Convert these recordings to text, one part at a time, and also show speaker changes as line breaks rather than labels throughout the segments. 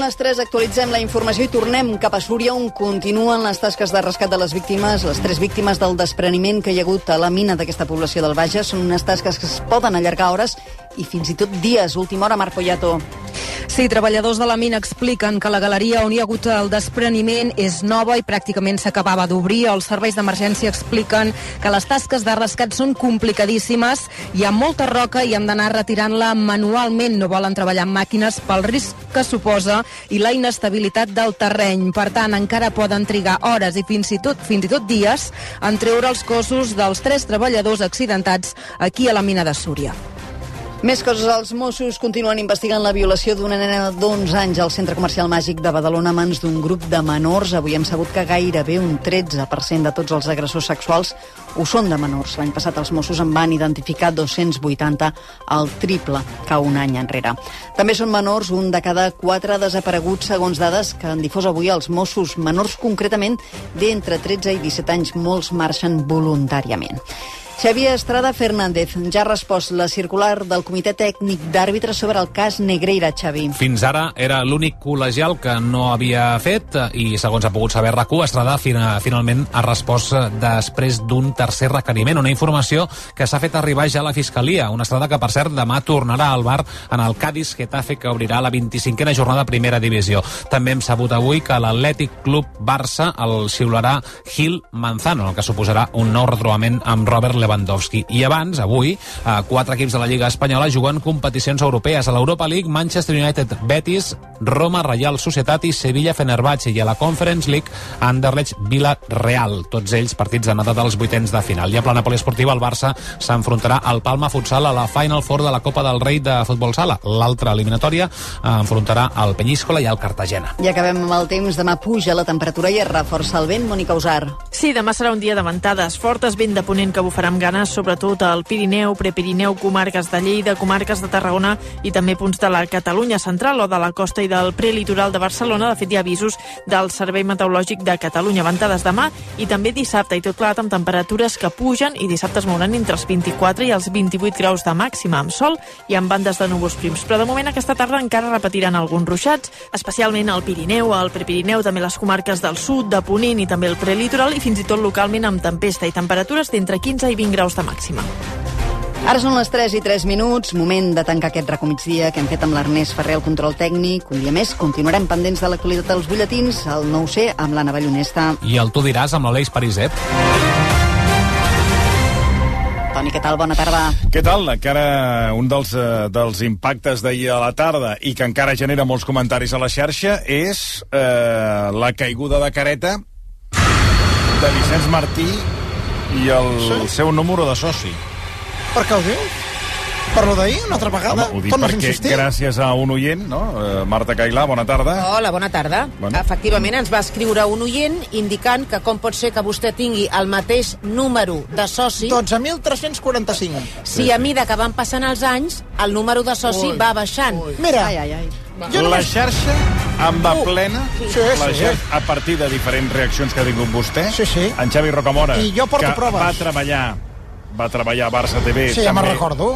les 3 actualitzem la informació i tornem cap a Súria on continuen les tasques de rescat de les víctimes. Les tres víctimes del despreniment que hi ha hagut a la mina d'aquesta població del Bages són unes tasques que es poden allargar hores i fins i tot dies. Última hora, Marc Poyato.
Sí, treballadors de la mina expliquen que la galeria on hi ha hagut el despreniment és nova i pràcticament s'acabava d'obrir. Els serveis d'emergència expliquen que les tasques de rescat són complicadíssimes, hi ha molta roca i han d'anar retirant-la manualment. No volen treballar amb màquines pel risc que suposa i la inestabilitat del terreny. Per tant, encara poden trigar hores i fins i tot fins i tot dies en treure els cossos dels tres treballadors accidentats aquí a la mina de Súria.
Més coses. Els Mossos continuen investigant la violació d'una nena d'11 anys al centre comercial màgic de Badalona a mans d'un grup de menors. Avui hem sabut que gairebé un 13% de tots els agressors sexuals ho són de menors. L'any passat els Mossos en van identificar 280, el triple que un any enrere. També són menors un de cada quatre desapareguts, segons dades que han difós avui els Mossos. Menors concretament d'entre 13 i 17 anys, molts marxen voluntàriament. Xavier Estrada Fernández ja ha respost la circular del Comitè Tècnic d'Àrbitres sobre el cas Negreira, Xavi.
Fins ara era l'únic col·legial que no havia fet i, segons ha pogut saber rac Estrada fina, finalment ha respost després d'un tercer requeriment, una informació que s'ha fet arribar ja a la Fiscalia. Una Estrada que, per cert, demà tornarà al bar en el Cádiz Getafe, que obrirà la 25a jornada de Primera Divisió. També hem sabut avui que l'Atlètic Club Barça el xiularà Gil Manzano, el que suposarà un nou retrobament amb Robert Lewandowski Lewandowski. I abans, avui, eh, quatre equips de la Lliga Espanyola juguen competicions europees. A l'Europa League, Manchester United, Betis, Roma, Real Societat i Sevilla, Fenerbahçe. I a la Conference League, Anderlecht, Vila Real. Tots ells partits d'anada dels vuitens de final. I a plana poliesportiva, el Barça s'enfrontarà al Palma Futsal a la Final Four de la Copa del Rei de Futbol Sala. L'altra eliminatòria eh, enfrontarà el Penyíscola i el Cartagena.
I acabem amb el temps. Demà puja la temperatura i es reforça el vent. Mònica Usar.
Sí, demà serà un dia de ventades fortes, vent de ponent que bufarà amb ganes, sobretot al Pirineu, Prepirineu, comarques de Lleida, comarques de Tarragona i també punts de la Catalunya central o de la costa i del prelitoral de Barcelona. De fet, hi ha avisos del Servei Meteorològic de Catalunya. Ventades demà i també dissabte, i tot plegat amb temperatures que pugen i dissabte es mouran entre els 24 i els 28 graus de màxima amb sol i amb bandes de núvols prims. Però de moment aquesta tarda encara repetiran alguns ruixats, especialment al Pirineu, al Prepirineu, també les comarques del sud, de Ponent i també el prelitoral i fins i tot localment amb tempesta i temperatures d'entre 15 i 20 graus de màxima.
Ara són les 3 i 3 minuts, moment de tancar aquest recomitzia que hem fet amb l'Ernest Ferrer, el control tècnic. Un dia més, continuarem pendents de l'actualitat dels butlletins, el 9C amb l'Anna Ballonesta.
I el tu diràs amb l'Aleix Pariset.
Toni, què tal? Bona tarda.
Què tal? Encara un dels, eh, dels impactes d'ahir a la tarda i que encara genera molts comentaris a la xarxa és eh, la caiguda de careta de Vicenç Martí i el sí. seu número de soci.
Per què ho diu? Per lo d'ahir, una altra vegada?
Home, ho dic Tornes perquè insistir. gràcies a un oient, no? Eh, Marta Cailà, bona tarda.
Hola, bona tarda.
Bueno.
Bueno. Efectivament, ens va escriure un oient indicant que com pot ser que vostè tingui el mateix número de soci...
12.345.
Si a mida que van passant els anys, el número de soci
Ui,
va baixant.
ui. Mira.
Ai, ai, ai.
Jo
La
només...
xarxa en va
Uh,
plena
sí,
la
sí.
xarxa, a partir de diferents reaccions que ha tingut vostè.
Sí, sí.
En Xavi Rocamora,
I jo porto
que
proves.
va treballar va treballar a Barça TV.
Sí, ja me'n recordo.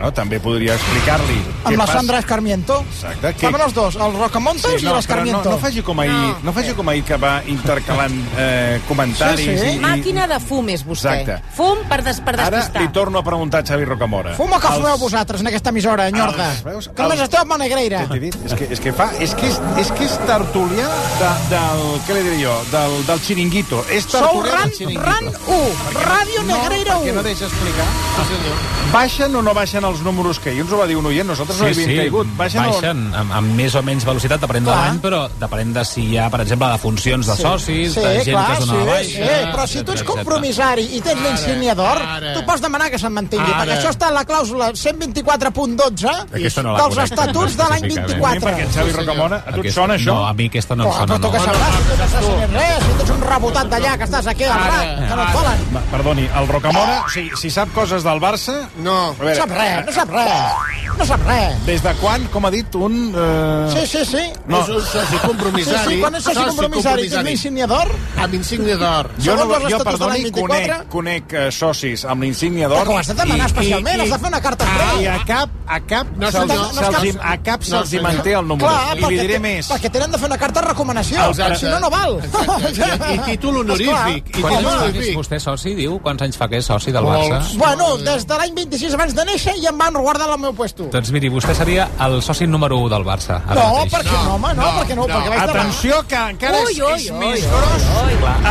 No, també podria explicar-li què
Amb la
passa.
Sandra Escarmiento.
Exacte, que-
Estaven els dos, el Rocamontes
Sí, no,
i
però no,
l'Escarmiento.
no faci com ahir, no. no faci com ahir que va intercalant eh, comentaris.
Sí, sí.
I, i...
Màquina de fum és vostè.
Exacte.
Fum per, des per
Ara
despistar.
li torno a preguntar a Xavi Rocamora.
Fuma que fumeu vosaltres en aquesta emissora, enyorda.
Els- veus?
Que només
Els-
esteu amb la negreira.
Què t'he dit? És que, és que fa... És que és, és, que és tertulià de, del... Què li diré jo? Del, del xiringuito. És
Sou
tertulià
RAN,
del xiringuito.
RAN 1, Ràdio Negreira
perquè
1.
no deixa explicar. Baixen o no baixen els números que ahir ens ho va dir un oient, nosaltres no hi havíem caigut. Baixen,
baixen amb, amb més o menys velocitat, depenent de
Clar.
l'any, però depenent de si hi ha, per exemple, defuncions de socis,
Sí,
de gent
clar,
que es
sí,
dona de baixa...
sí, Eh,
Ah,
però si tu ets compromissari i tens l'insígnia d'or,
ara.
tu pots demanar que se'n mantingui,
Ara.
perquè això està en la clàusula 124.12
Aquesta no la
dels
conec,
estatuts de l'any
específicament.
Oient, perquè
24.
en Xavi Rocamora, a tu et sona això?
No, a mi aquesta no em
Però,
sona,
però tu
no.
que sabràs, tu no saps ni res, si tu ets un rebotat d'allà que estàs aquí al RAC, que no et volen.
Va, Perdoni, el Rocamora, si, si sap coses del Barça...
No.
A veure,
No sap res, no sap res. No sap res.
Des de quan, com ha dit, un... Eh...
Sí, sí, sí.
No.
És un soci
Sí,
compromissari.
sí, quan és soci compromissari, que és l'insignia d'or,
Amb insígnia d'or.
Jo, no,
Segons els
jo
estatuts de l'any
perdoni,
24,
conec, conec eh, socis amb l'insígnia
que
d'or...
ho has de demanar especialment, has de fer una carta
Ah, I
express.
a cap, a cap
No,
se'ls
senyor, no,
se'ls-
senyor.
a cap se'ls hi
senyor.
manté el número.
Clar,
I li
perquè,
diré
té-
més. Ah,
perquè tenen de fer una carta de recomanació,
Exacte.
si no, no val.
Exacte. I- i títol honorífic, i
Esclar.
títol
Quants anys fa
Home,
que és
Vic.
vostè soci, diu? Quants anys fa que és soci del
Molts.
Barça?
bueno, des de l'any 26 abans de néixer ja em van guardar el meu puesto.
Doncs miri, vostè seria el soci número 1 del Barça. ara
No,
mateix.
perquè no, home, no, perquè no, perquè vaig demanar.
Atenció, que encara és,
Ui, ui,
és
ui,
més
ui,
gros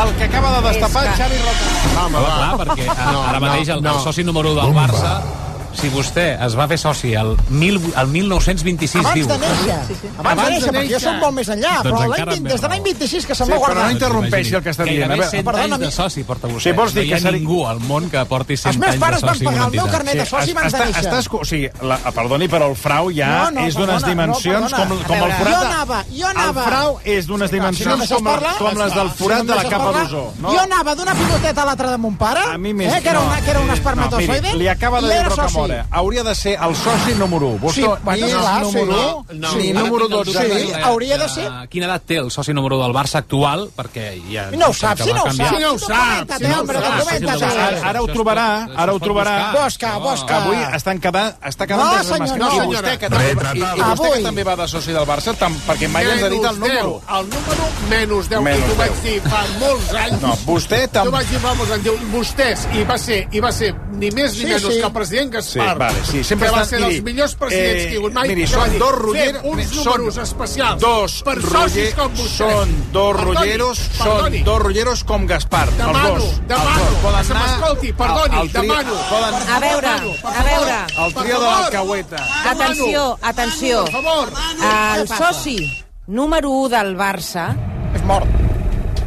el que acaba de destapar
És que-
Xavi Roca.
Home,
Home,
va.
clar, perquè
ah,
a-
No,
ara mateix el,
no,
el
no.
soci número 1 del Barça, si vostè es va fer soci el, mil, el 1926,
Abans
diu...
de néixer. Abans de néixer, perquè jo soc molt més enllà,
Doncs
però l'any
encara
vint- des de l'any
més raó.
26 que se'm
Sí,
va
però
guardar.
no interrompeixi el que està dient. A
Gairebé
veure,
100
perdona'm.
anys de soci porta vostè.
Si vols dir
no hi
que
ha
seria-
ningú al món que porti 100
Els meus
anys de
pares
soci
van
en
pagar el meu
entitat.
carnet de soci abans de
està,
néixer.
estàs, co- o sigui, la, ah, perdoni, però el frau ja
No, no,
és d'unes
perdona,
dimensions
no,
com,
perdona.
com
A
el
veure,
forat...
jo
de-
anava, jo anava.
El frau és d'unes
Si no em
dimensions
deixes
com,
parlar,
com les del forat
si no
de
em
la
deixes
capa
parlar,
d'ozó.
Jo anava d'una piloteta a l'altra de mon pare,
A mi més,
eh, que, era
no.
una, que era un
Eh,
espermatozoide,
no, miri, li acaba de
i
dir
era
Rocamora.
soci.
Hauria de ser el soci número 1. Vostè
Sí, bueno,
ni
clar,
és número
sí.
1,
No,
ni
ara
número
tinc el
12.
dubte. Sí,
ni-
hauria de ser.
Eh, Quina edat té el soci número 1 del Barça actual? Perquè ja...
No ho saps, si no ho saps.
Si no ho saps,
Documenta't,
si no ho
home,
saps,
documenta't.
si no ho
Ara, ara ho trobarà, ara ho trobarà.
Busca,
Que
busca.
avui estan quedant, està quedant
No,
desmascarat.
senyor, no.
I vostè, que també, i, i vostè
Avui.
que també va de soci del Barça, tam, perquè mai ens ha dit el
Menys
número.
10, El número menys 10,
Menys
i t'ho vaig
10.
dir fa molts anys.
No, vostè tam-
T'ho vaig dir fa molts anys. Diu, vostès, i va ser, i va ser ni més ni
Sí,
menys
sí.
que el president
Sí,
Gaspar,
vale, sí, sempre
que va
estan-
ser dels
miri,
millors presidents
eh,
que hi ha hagut mai,
miri,
que
són
va dir,
dos Roger-
fem uns
són-
números especials
Dos
per socis com vostès.
són dos
Perdoni,
rotlleros,
perdoni.
són dos rotlleros com Gaspar.
Demano,
els dos.
demano,
els dos.
que se m'escolti, perdoni, demano.
Poden,
A veure,
Eh,
a veure,
el trio de l'Alcahueta.
atenció, atenció.
Per favor.
El soci número 1 del Barça,
És mort.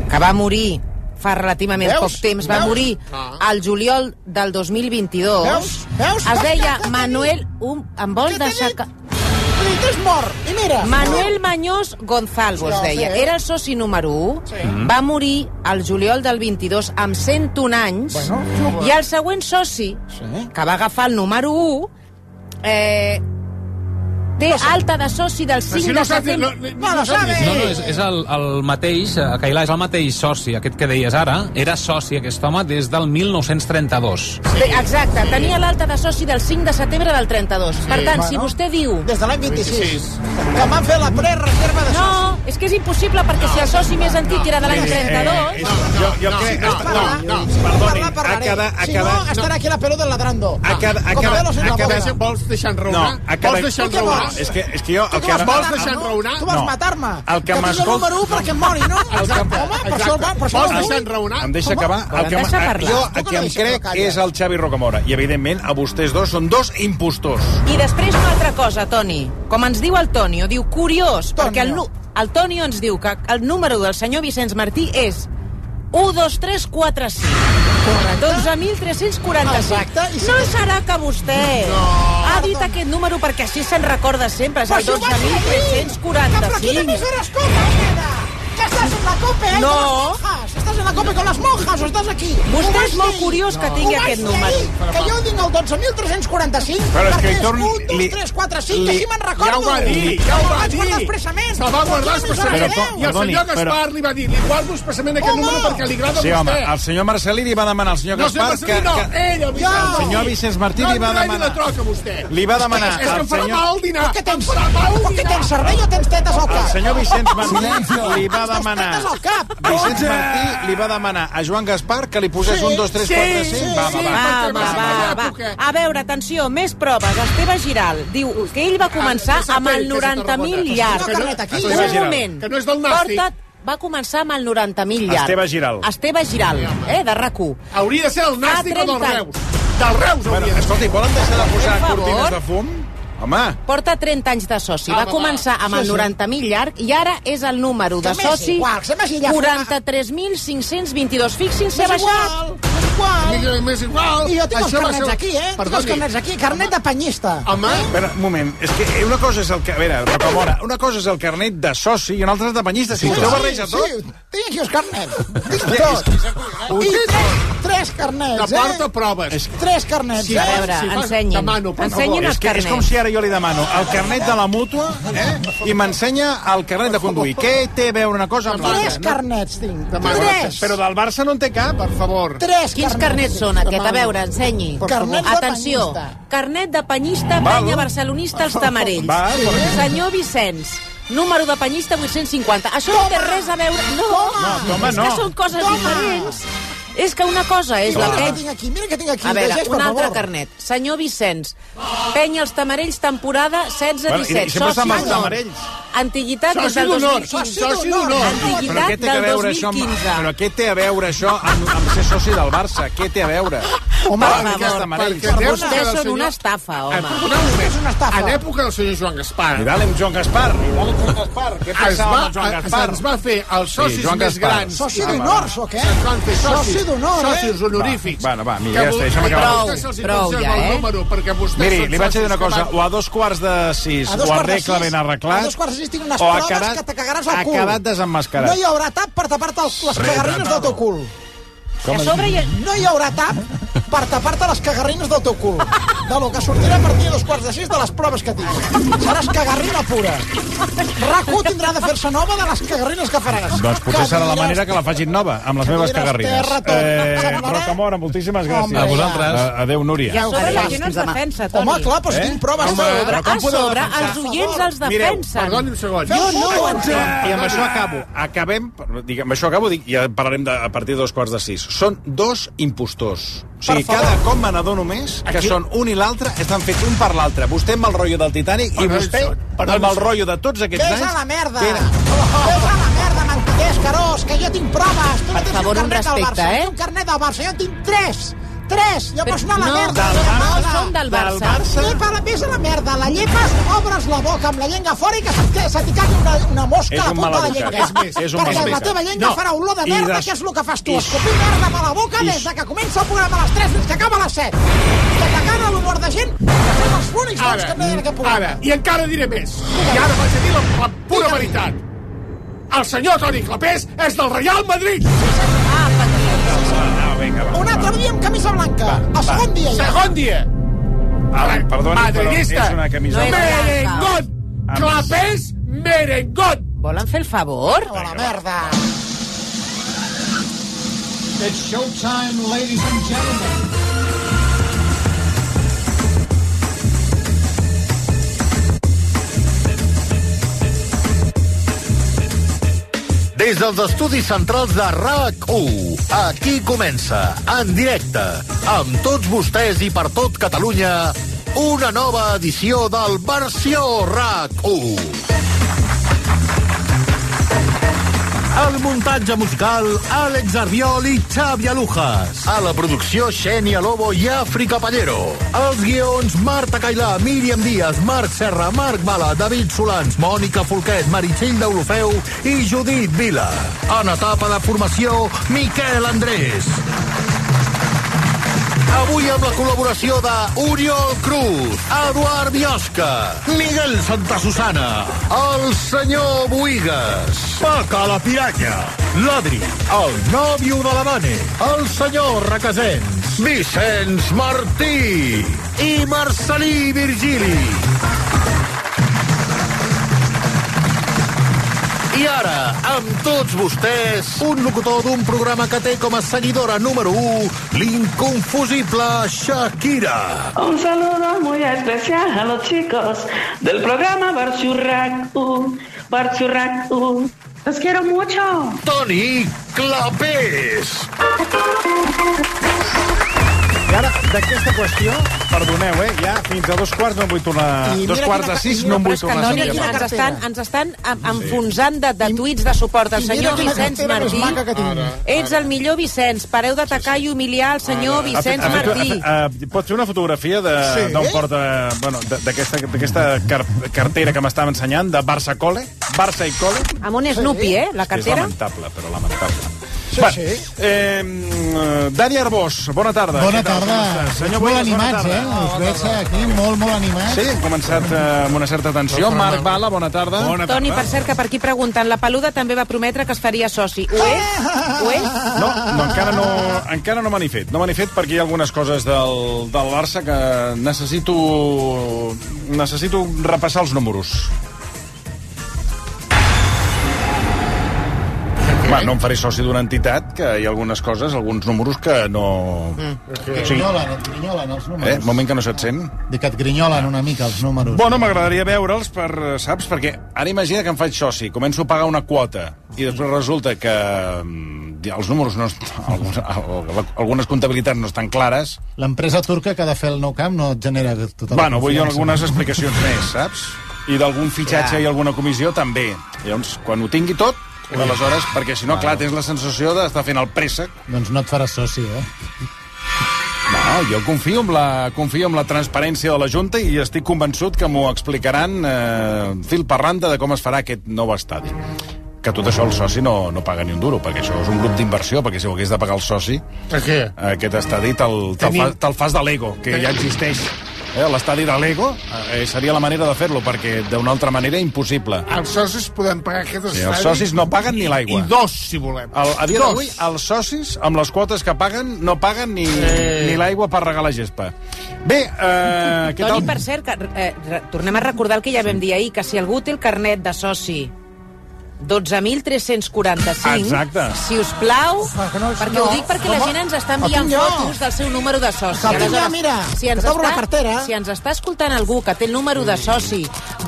que va morir fa relativament
Veus?
poc temps, va
Veus?
morir
Ah.
al juliol del 2022,
Veus? Veus?
es deia
Què t'he
Manuel... Un, em
Què
vol
t'he
deixar...
dit?
Que...
Vull dir que és mort. I mira.
Manuel Mañós Gonzalvo es
Sí,
deia.
sí.
Era el soci número 1.
Mm.
Va morir al juliol del 22 amb 101 anys.
Bueno, jove.
I el següent soci,
Sí.
que va agafar el número 1, eh, té alta de soci del 5
Si
de
no saps...
setembre.
no- no-
No,
no
lo sabe.
No, no, és, és el, el mateix, eh, Cailà, és el mateix soci, aquest que deies ara, era soci aquest home des del 1932.
Bé, Exacte, tenia l'alta de soci del 5 de setembre del 32. Per tant, si
Bueno.
vostè diu...
Des de l'any 26.
26.
Que em van fer la pre-reserva de soci.
No, és que és impossible, perquè si el soci més antic era de l'any 32...
eh, Jo, jo
no,
crec...
no,
està-
no,
no,
no.
perdoni,
Parlar,
ha
parlaré.
quedat... Ha
Si no,
quedat...
estarà aquí la pelota ladrando.
Ha quedat- ha
Com
quedat-
velos en
ha
la
quedat-
boca.
Vols deixar enraonar?
No, ha
Vols
quedat...
deixar
Tu què
enraonar?
vols?
És que, és que jo...
Tu
El
que
que
vas
ara...
vols
matar-me,
deixar
no?
enraonar?
Tu vas
No.
matar-me.
El que
tingui
m'escolta-
el número 1 perquè em mori, no?
Exacte,
Home, per això el va... Per això
Vols
el va-
deixar enraonar?
Em deixa acabar?
Però em deixa
a-
parlar.
jo
Tu
el
que
que
no
em
deixes, no
crec
calles.
és el Xavi Rocamora. I, evidentment, a vostès dos són dos impostors.
I després una altra cosa, Toni. Com ens diu el Tonio, diu curiós,
Tonio.
perquè el, nu- el Tonio ens diu que el número del senyor Vicenç Martí és 1, 2, 3, 4, 5.
Correcte.
12.345.
Exacte, i si
No
que-
serà que vostè ha dit
Perdona.
aquest número perquè així se'n recorda sempre. És
Però
el
si ho vaig Que per aquí
12.345.
l'emissora es copa, nena. Que estàs en la copa, eh?
No.
Con las monjas. Estàs en la copa con las monjas o estàs aquí?
Vostè
Ho vaig
és molt
dir.
curiós que tingui
Ho vaig
aquest
dir
número.
ahir, Que jo tinc el
Però és
12.345
que
perquè
hi
és
torn-
1, 2,
li-
3, 4, 5,
li-
que així me'n recordo.
Ja ho va dir, ja ho va
Me'l vaig
dir.
guardar expressament. Doncs
Se'l va guardar
Però quina
Però
expressament.
emissora
I el
sereu?
com-
senyor
Perdoni,
Gaspar
però-
li va dir, li guardo expressament aquest
Home!
número perquè li agrada
Sí,
a
home,
vostè.
el senyor Marcelí li va demanar al senyor
No,
Gaspar
senyor Marcelí, no, ell, el Vicenç
El
Martí.
senyor Vicenç Martí
no
li va
em tragui
demanar-
la troca, a vostè.
Li va demanar
És que
al
em farà
senyor...
mal dinar.
Però què
Em
tens?
farà mal
Però què
dinar.
tens cervell o tens tetes
El
al cap?
senyor Vicenç Martí li va
Estàs
demanar...
tetes al cap.
Vicenç Martí li va demanar a Joan Gaspar que li posés
Sí,
un, dos, tres,
sí,
quatre,
sí,
cinc... Va, va,
sí.
va.
Ah, Va, va, va, va.
Època.
A veure, atenció, més proves. Esteve Giral diu que ell va començar
Ah,
amb el
que se t'ha
90.000
rebota.
llarg.
Que no- Aquí,
Un
Esteve
Giral,
moment.
que no és del nàstic.
Porta't- va començar amb el 90.000 llarg.
Esteve Giral.
Esteve Giral, eh, de RAC1.
Hauria de ser el nàstic
Ah,
o del
30.
Reus. Del Reus
Bueno,
hauria de ser.
escolti, volen deixar de posar
Per favor.
cortines de fum? Home,
Porta 30 anys de soci.
Ah,
Va
va,
començar amb el 90.000 llarg i ara és el número de
Que m'és
soci
igual, que m'és igual.
43.522. Fixin-se, ha
És
baixat.
igual, és igual.
Millor, M'és igual.
I jo tinc els
Això va
carnets
ser-
aquí, eh? Tinc els
Perdoni.
carnets aquí, carnet de Eh? penyista.
Home,
Però, un moment, és que una cosa és el... que- A veure, Rocamora, una cosa és el carnet de soci i una altra és de banyista. Si vostè ho barreja tot...
Sí, tinc aquí els carnets. Tinc
Sí, és
tot.
que
I tres, tres Tres carnets,
Que porta
eh?
proves.
És-
Tres carnets,
Si
eh?
A veure,
si fas-
ensenyin.
demano, per favor.
ensenyin
És,
el
que és
carnet.
com si ara jo li demano el carnet de la mútua eh, i m'ensenya el carnet de conduir. Què té a veure una cosa amb
Tres
l'altra?
carnets tinc.
Demano.
Tres.
Però del Barça no en té cap.
Per favor.
Tres
Quins carnets són aquest? A veure, ensenyi.
Por favor. Carnet de
Atenció.
penyista.
Carnet de penyista, penya barcelonista als tamarells.
Va, per-
Senyor Vicenç, número de penyista 850. Això no té res a veure... No,
No, toma,
és
no.
que són coses
Toma.
diferents. És que una cosa és la
Mira que
penya...
tinc aquí, mira que tinc aquí.
A veure,
llegeix, per
un altre
favor.
carnet. Senyor Vicenç, penya els tamarells, temporada
Bueno, i- i
16-17.
sempre estan amb els
d'honor.
tamarells.
Antiguitat des
Soci
del
d'honor.
2015.
Soci d'honor.
Però què
Antiguitat
té a
del
veure això amb,
2015.
però què té a veure això amb, amb ser soci del Barça? Què té a veure?
Home,
Ah,
per
que està
favor,
amarell.
perquè té-
Vostès
Senyor-
són una estafa,
Eh,
home.
perdoneu un moment.
És una estafa.
En època del senyor Joan Gaspar,
Vidal amb Joan Gaspar. Vidal amb Joan Gaspar. Què
Ah,
es
passava amb el Joan
va,
Gaspar?
se'ns va fer els socis
Sí, Joan
més
Gaspar.
grans.
Soci
Ah, va.
d'honor, sóc, eh?
Se'ns van fer socis.
Soci d'honor, eh?
Socis honorífics.
Va, bueno, va, mira, ja està, deixa'm acabar.
Prou, prou, ja, eh?
Miri, li vaig dir una cosa, o a dos quarts de sis
A
ho
dos quarts de
arregla
sis.
ben arreglat,
A dos quarts de sis tinc unes
o ha
proves
quedat,
que te cagaràs al
ha
cul.
quedat desenmascarat.
No hi haurà tap per tapar-te els- les cagarrines del teu cul.
I a sobre hi ha...
No hi haurà tap per tapar-te les cagarrines del teu cul. De lo que sortirà a partir de dos quarts de sis de les proves que tinc. Seràs cagarrina pura. RAC1 tindrà de fer-se nova de les cagarrines que faràs.
Doncs potser
Que
serà la
diràs-
manera que la facin nova, amb les meves
diràs
cagarrines.
terra, tot.
Eh,
Semblarà-
Rocamora, moltíssimes gràcies. Ah.
Home,
A vosaltres.
A- Adéu,
I a
Núria.
sobre la
Adéu,
gent
fins
ens
demà.
defensa, Toni.
Home, clar, però si tinc proves...
Eh? Home,
de-
però
A
com podeu
sobre,
defensar?
els oients els
Mireu,
defensen.
Perdoni un segon.
Jo no ho entenc.
I amb això acabo. Acabem, dic, amb això acabo, dic, ja parlarem de, a partir de dos quarts de sis. Són dos impostors. O sigui,
Per favor.
cada cop me n'adono més que
Aquí-
són un i l'altre, estan fets un per l'altre. Vostè amb el rotllo del Titanic i
Perdó,
vostè
això- perdó,
amb el
això.
rotllo de tots aquests
Vés
anys...
a la merda!
que era-
Vés a la merda, mentiders, carós, que jo tinc proves! Tu no
Per
tens
favor,
un
un
carnet del
respecte, eh?
Barça, Jo tinc un carnet del Barça, jo en tinc tres! Tres! Jo pots anar a la
no,
merda!
del
la
Barça.
merda.
No són del Barça.
Llepa, la- vés a la merda, la llepes, obres la boca amb la llengua fora i que se te- se t'hi cagui una, una mosca
És
a
un
punta de
maleducat.
llengua.
És més, és un
Perquè la
maleducat.
teva llengua
No.
farà olor de
I
merda,
des-
que és el que fas tu.
i-
Escopir merda per la boca
i-
des de que comença el programa a les 3 fins que acaba a les 7. Que t'acana l'humor de gent, que som els únics
Ah,
bons que no hi ha en aquest
Ara,
programa.
ara, i encara diré més. I ara vaig a dir la, la pura
Digue'm.
veritat. El senyor Toni Clapés és del Real Madrid.
No, vinga, va.
Un altre dia amb camisa blanca. el segon dia ja.
Segon dia.
Ara, perdoni, però és
Madridista.
una camisa...
No és
blanca.
Merengón.
Ah,
Clapés, merengón.
Volen fer el favor?
A la merda.
Des dels estudis centrals de RAC1, aquí comença, en directe, amb tots vostès i per tot Catalunya, una nova edició del Versió RAC1. El muntatge musical, Àlex Arbiol i Xavi Alujas. A la producció, Xenia Lobo i Àfrica Pallero. Els guions, Marta Cailà, Míriam Díaz, Marc Serra, Marc Bala, David Solans, Mònica Folquet, Meritxell d'Olofeu i Judit Vila. En etapa de formació, Miquel Andrés. Avui amb la col·laboració de Oriol Cruz, Eduard Biosca, Miguel Santa Susana, el senyor Boigas, Paca la Piranya, l'Adri, el nòvio de la Vane, el senyor Requesens, Vicenç Martí i Marcelí Virgili. I ara, amb tots vostès, un locutor d'un programa que té com a seguidora número 1 l'inconfusible Shakira.
Un saludo muy especial a los chicos del programa Barchurrac U. Barchurrac U. Los quiero mucho.
Toni Clapés.
I ara, d'aquesta qüestió, perdoneu, eh, ja fins a dos quarts no em vull tornar...
I
dos
mira
quarts de
quina-
sis
mira,
no em
però
vull
és que
tornar
no
a
n'hi
sentir.
ha
parlar.
quina
Ens
cartera.
estan, ens estan em- enfonsant de, de tuits de suport al
I mira
senyor
quina
Vicenç
cartera més maca
Martí.
que tinc.
Ets el millor Vicenç, pareu d'atacar i humiliar el senyor
Ha fet-
Vicenç
ha fet-
Martí.
ha fet- eh, Pots fer una fotografia de-
Sí.
d'un porta... Bueno, de- d'aquesta d'aquesta car cartera que m'estava ensenyant, de Barça Cole, Barça i Cole?
Amb un Snoopy, eh, la
És
cartera.
lamentable, però lamentable. Sí, bueno, sí. Eh, mm, Dani Arbós, bona tarda.
Bona
Què tal,
tarda.
com estàs?
Us
Senyor
molt
Boigas, bona
animats,
tarda.
eh? Us veig aquí molt, molt animats.
Sí, hem començat eh, amb una certa tensió. Marc Bala, bona tarda. Bona
Toni, per cert, que per aquí preguntant, la Paluda també va prometre que es faria soci. Ho és?
Ah,
Ho és?
No, no, encara no, Eh, encara no me n'he fet. No me n'he fet perquè hi ha algunes coses del, del Barça que necessito, necessito repassar els números. Va, no em faré soci d'una entitat que hi ha algunes coses, alguns números que no...
Que et
Mm. Sí.
grinyolen, et grinyolen els
Eh,
números.
moment que no se't sent.
Dic que et grinyolen una mica els números.
Bueno, m'agradaria veure'ls, per, eh, saps? Perquè ara imagina que em faig soci, començo a pagar una quota i després resulta que mm, els números, no, est- alguns, al- la- algunes comptabilitats no estan clares.
L'empresa turca que ha de fer el nou camp no et genera tota la
Bueno, vull
confiança.
algunes explicacions més, saps? I d'algun fitxatge
Clar.
i alguna comissió també. Llavors, quan ho tingui tot,
Ui.
aleshores, perquè si no, clar, tens la sensació d'estar fent el préssec.
Doncs no et faràs soci, eh?
No, jo confio en la, confio en la transparència de la Junta i estic convençut que m'ho explicaran eh, fil per randa de com es farà aquest nou estadi. Que tot això el soci no, no paga ni un duro, perquè això és un grup d'inversió, perquè si ho hagués de pagar el soci,
Per què?
aquest estadi te'l te
Tenim-
fa, te fas de Lego, que ja existeix. Eh, L'estadi de Lego eh, seria la manera de fer-lo, perquè d'una altra manera impossible.
Els socis podem pagar aquest
Sí,
estadi.
els socis no paguen ni l'aigua.
I dos, si volem.
El, a dia
Dos.
d'avui, els socis, amb les quotes que paguen, no paguen ni,
Eh.
Sí.
ni l'aigua per regar la gespa. Bé, eh, què
Toni,
tal?
per cert, que, eh, re- tornem a recordar el que ja vam dir ahir, que si algú té el carnet de soci 12.345,
Exacte.
si us plau, perquè ho
no.
dic perquè la
Com-
gent ens està
que
enviant
tinc jo.
fotos del seu número de soci.
Que tinc jo,
Aleshores,
mira,
si ens
que t'obro
està,
la cartera.
Si ens està escoltant algú que té el número de soci 12.345...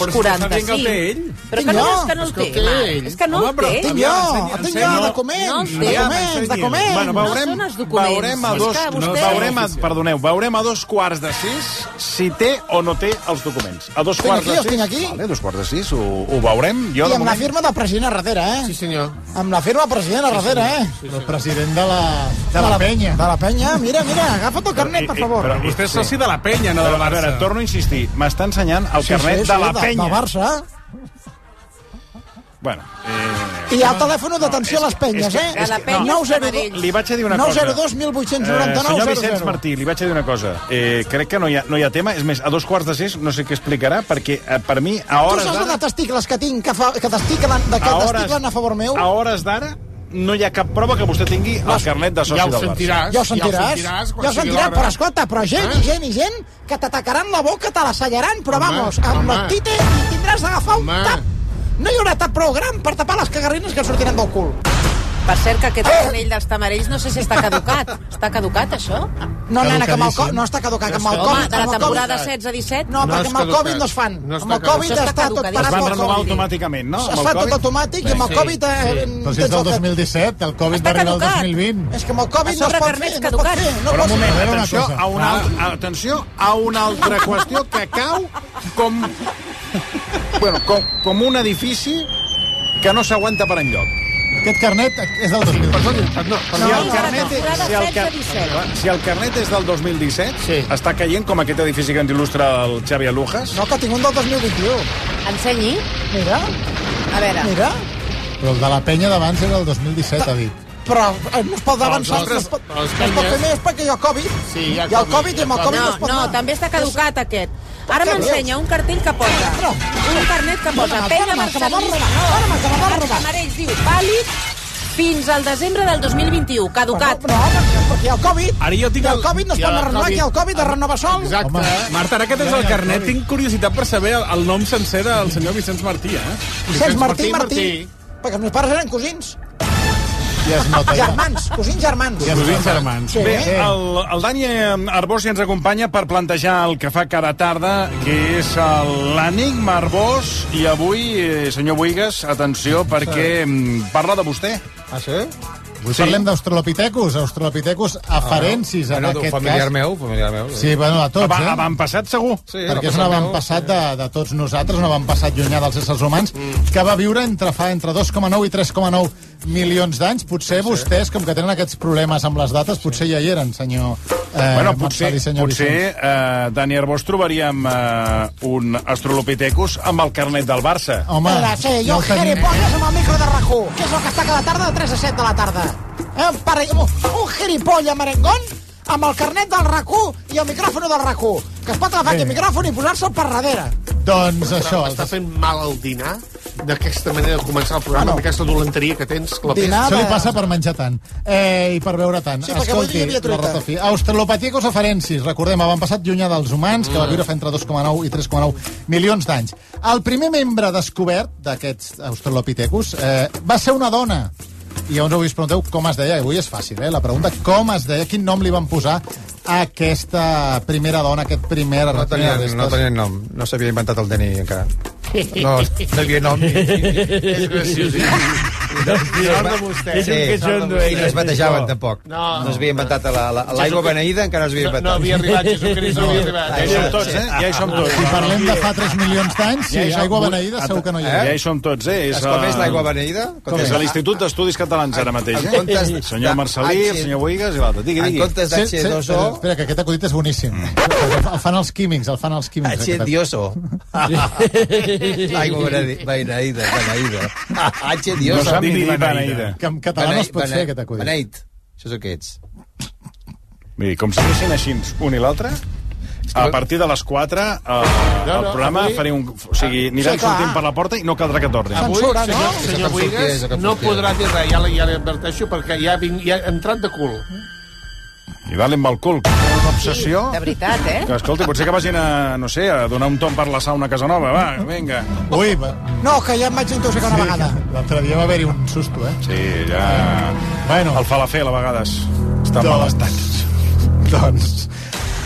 Però si t'està dient que el té ell.
Però
Tinc
que no,
jo.
és que no el
És que
té.
el té
home.
ell.
És que no
Home,
el
però
té.
tinc jo, el tinc jo, documents,
No el té.
documents, documents.
Bueno,
No
veurem,
són els documents.
veurem a
És
dos...
que
No,
vostè-
veurem a, perdoneu, veurem a dos quarts de sis si té o no té els documents. A dos
Tinc
quarts
aquí,
de
els
sis...
tinc aquí.
Vale, a dos quarts de sis ho, ho veurem. Jo,
I
de
amb la
moment...
firma del president a darrere, eh?
Sí, senyor.
Amb la firma del president a darrere, eh?
El president de la, de la penya.
De la penya, mira, mira, agafa't el carnet, Eh, per favor.
Però
Vostè és soci de la penya, no del
A veure,
Barça.
torno a insistir. M'està ensenyant el carnet de la penya.
De Barça.
Bueno, eh...
I hi ha el telèfon d'atenció a les penyes, eh?
De la penya no, està amarell.
Li vaig a dir una cosa.
902
Eh,
1899
senyor Vicenç Martí, li vaig a dir una cosa. Eh, crec que no hi, ha, no hi ha tema. És més, a dos quarts de sis no sé què explicarà, perquè eh, per mi, a
Tu
hores
saps de
d'ara...
testicles que tinc, que, fa, que testiclen, de que
A hores-
testiclen a favor meu?
A hores d'ara no hi ha cap prova que vostè tingui el carnet de soci
ja ho
del Barça.
sentiràs.
Ja ho sentiràs, ja ho sentiràs,
quan sigui l'hora.
però escolta, però gent
Eh?
i gent i gent que t'atacaran la boca, te la sellaran, però
Home,
vamos, amb
home.
los tites i tindràs d'agafar un
Home.
tap. No hi haurà tap prou gran per tapar les cagarrines que et sortiran del cul. Eh!
Per cert, que aquest carnell dels tamarells no sé si està caducat. Està caducat, això?
No, nena, que amb el co... no està caducat, que amb el
Home,
Covid...
de la
amb el
temporada
Covid-
16-17?
No, perquè amb el
caducat.
Covid no es fan.
No està
amb el
caducat.
Covid
Això està
està tot
caducat,
Es
es
parat
van
pel
renovar
Covid.
automàticament, no?
Es fa tot automàtic i amb el
Sí,
Covid... eh,
Però si és Doncs del
tens el que-
2017, el Covid
Està
va arribar el
caducat.
2020.
És que amb el Covid no
sobre
es pot
carnets
fer, no es pot
caducats.
fer. No
Però un
pot
moment, eh?
A veure una
atenció
cosa.
a, una, al- atenció a una altra qüestió que cau com, bueno, com, com un edifici que no s'aguanta per enlloc.
Aquest carnet és del 2020.
No, per
Si
no,
el
és de la
carnet,
temporada
si el, car
16-17.
si el carnet és del 2017, sí.
Sí.
està caient com aquest edifici que ens il·lustra el Xavi Alujas.
No, que tinc un del 2021.
Ensenyi.
Mira,
A veure.
mira.
Però el de la penya d'abans era el 2017, ha dit.
Però eh, no es pot avançar, no
altres-
es pot,
a les
no es pot fer
penyes-
més perquè hi ha Covid.
Sí, hi
hi
ha
ha el
Covid,
Covid i amb el
hi ha
Covid no
No,
es pot
no,
anar.
també està caducat aquest. Ara
Què
m'ensenya un cartell que posa.
No.
Un carnet que posa
Dóna'm,
Penya
dóna'm, que me
Marcelí.
vol robar, dóna'm, que me vol robar.
Marcells diu vàlid fins al desembre del 2021. Caducat.
Però, no, perquè- perquè hi ha el Covid.
Ara jo tinc
I el
el-
Covid no es
hi ha
pot
el
renovar,
Covid.
que el Covid es renova sol.
Exacte.
Home.
Marta, ara que tens el carnet, tinc curiositat per saber el, el nom sencer del senyor Vicenç Martí, eh?
Vicenç Martí, Martí, Perquè els meus pares eren cosins.
Ja es nota. Ja.
Germans, cosins germans.
Ja es nota.
Cosins germans.
Sí. Eh?
Bé, el, el Dani Arbós ja ens acompanya per plantejar el que fa cada tarda, que és el- l'enigma Arbós. I avui, eh, senyor Buigas, atenció, perquè mm, parla de vostè.
Ah, sí? Avui sí. parlem d'australopitecus, australopitecus afarensis,
bueno,
en
d'un
aquest
familiar
cas.
meu, familiar meu. Ah,
Sí, bueno, de tots,
Ava-
eh?
Avantpassat, segur?
Sí,
Perquè és un avantpassat de, de tots nosaltres, un avantpassat llunyà dels éssers humans, mm. que va viure entre fa entre 2,9 i 3,9 milions d'anys. Potser sí. vostès, com que tenen aquests problemes amb les dates, potser ja hi eren, senyor eh,
bueno, potser,
Marcel i senyor
potser
Vicenç.
eh, Dani Arbós trobaríem eh, un Australopithecus amb el carnet del Barça.
Home,
Hola, sí, jo
ho
no Jere Pollas amb el micro de rac que és el que està cada tarda de 3 a 7 de la tarda. Eh, un, pare, un, un gilipolla merengón amb el carnet del rac i el micròfon del rac que es pot agafar
Bé.
aquest micròfon i posar-se'l per darrere.
Doncs això.
Està fent mal al dinar d'aquesta manera de començar el programa, amb aquesta dolenteria que tens. La
Dinar, Això li passa per menjar tant eh, i per beure tant.
Sí, perquè avui hi havia truita.
fi. Australopithecus afarensis, recordem, van passat llunyà dels humans, que va
Mm.
viure fa entre 2,9 i 3,9 milions d'anys. El primer membre descobert d'aquests Australopithecus eh, va ser una dona. I llavors avui us pregunteu com es deia, i avui és fàcil, eh? La pregunta, com es deia, quin nom li van posar a aquesta primera dona, a aquest primer...
No tenia, no tenia nom, no s'havia inventat el DNI encara. No, no hi havia nom. Ni, ni, és graciós. Doncs Sí, I no es batejaven, tampoc. No, no es havia inventat la- la- l'aigua beneïda, encara no es havia inventat.
Ja hi som tots, eh? Ja hi som
Ah,
tots.
Si parlem de fa 3 milions d'anys,
Ja
sí,
hi som-
aigua beneïda segur que no hi era.
Ja hi som tots, eh?
Es com és l'aigua beneïda?
Com és a l'Institut d'Estudis Catalans ara mateix, eh?
en comptes
senyor
de- Ah,
Marcelí, el
H-
senyor Boigas i l'altre. Digui, digui.
espera, Espera, que aquest acudit és boníssim. El fan els químics, el fan els químics. aquest
H-dioso. L'aigua beneïda, beneïda. beneïda. H-dioso.
No sap ni dir beneïda. Que en català no es pot fer, aquest acudit.
Beneït. Això és el que ets.
Vull dir, com segueixin així un i l'altre, a partir de les 4 eh,
No,
el
no,
programa
avui-
faré un... O
Ah,
sigui, aniran
Sí, clar.
sortint per la porta i no caldrà que tornin.
Avui, senyor, senyor Buigas, no podrà dir res, ja, li- ja li adverteixo, perquè ja, vinc, ja ha entrat de cul.
I dalt amb el cul, que és una obsessió...
De veritat, eh?
Que, escolta, potser que vagin a, no sé, a donar un tomb per la sauna a casa nova, va, vinga.
Ui, va...
No, que ja em vaig intoxicar una vegada.
L'altre dia va haver-hi un susto, eh?
Sí, ja...
Bueno.
El falafel, a vegades. Està en
Doncs-
mal estat.
Doncs...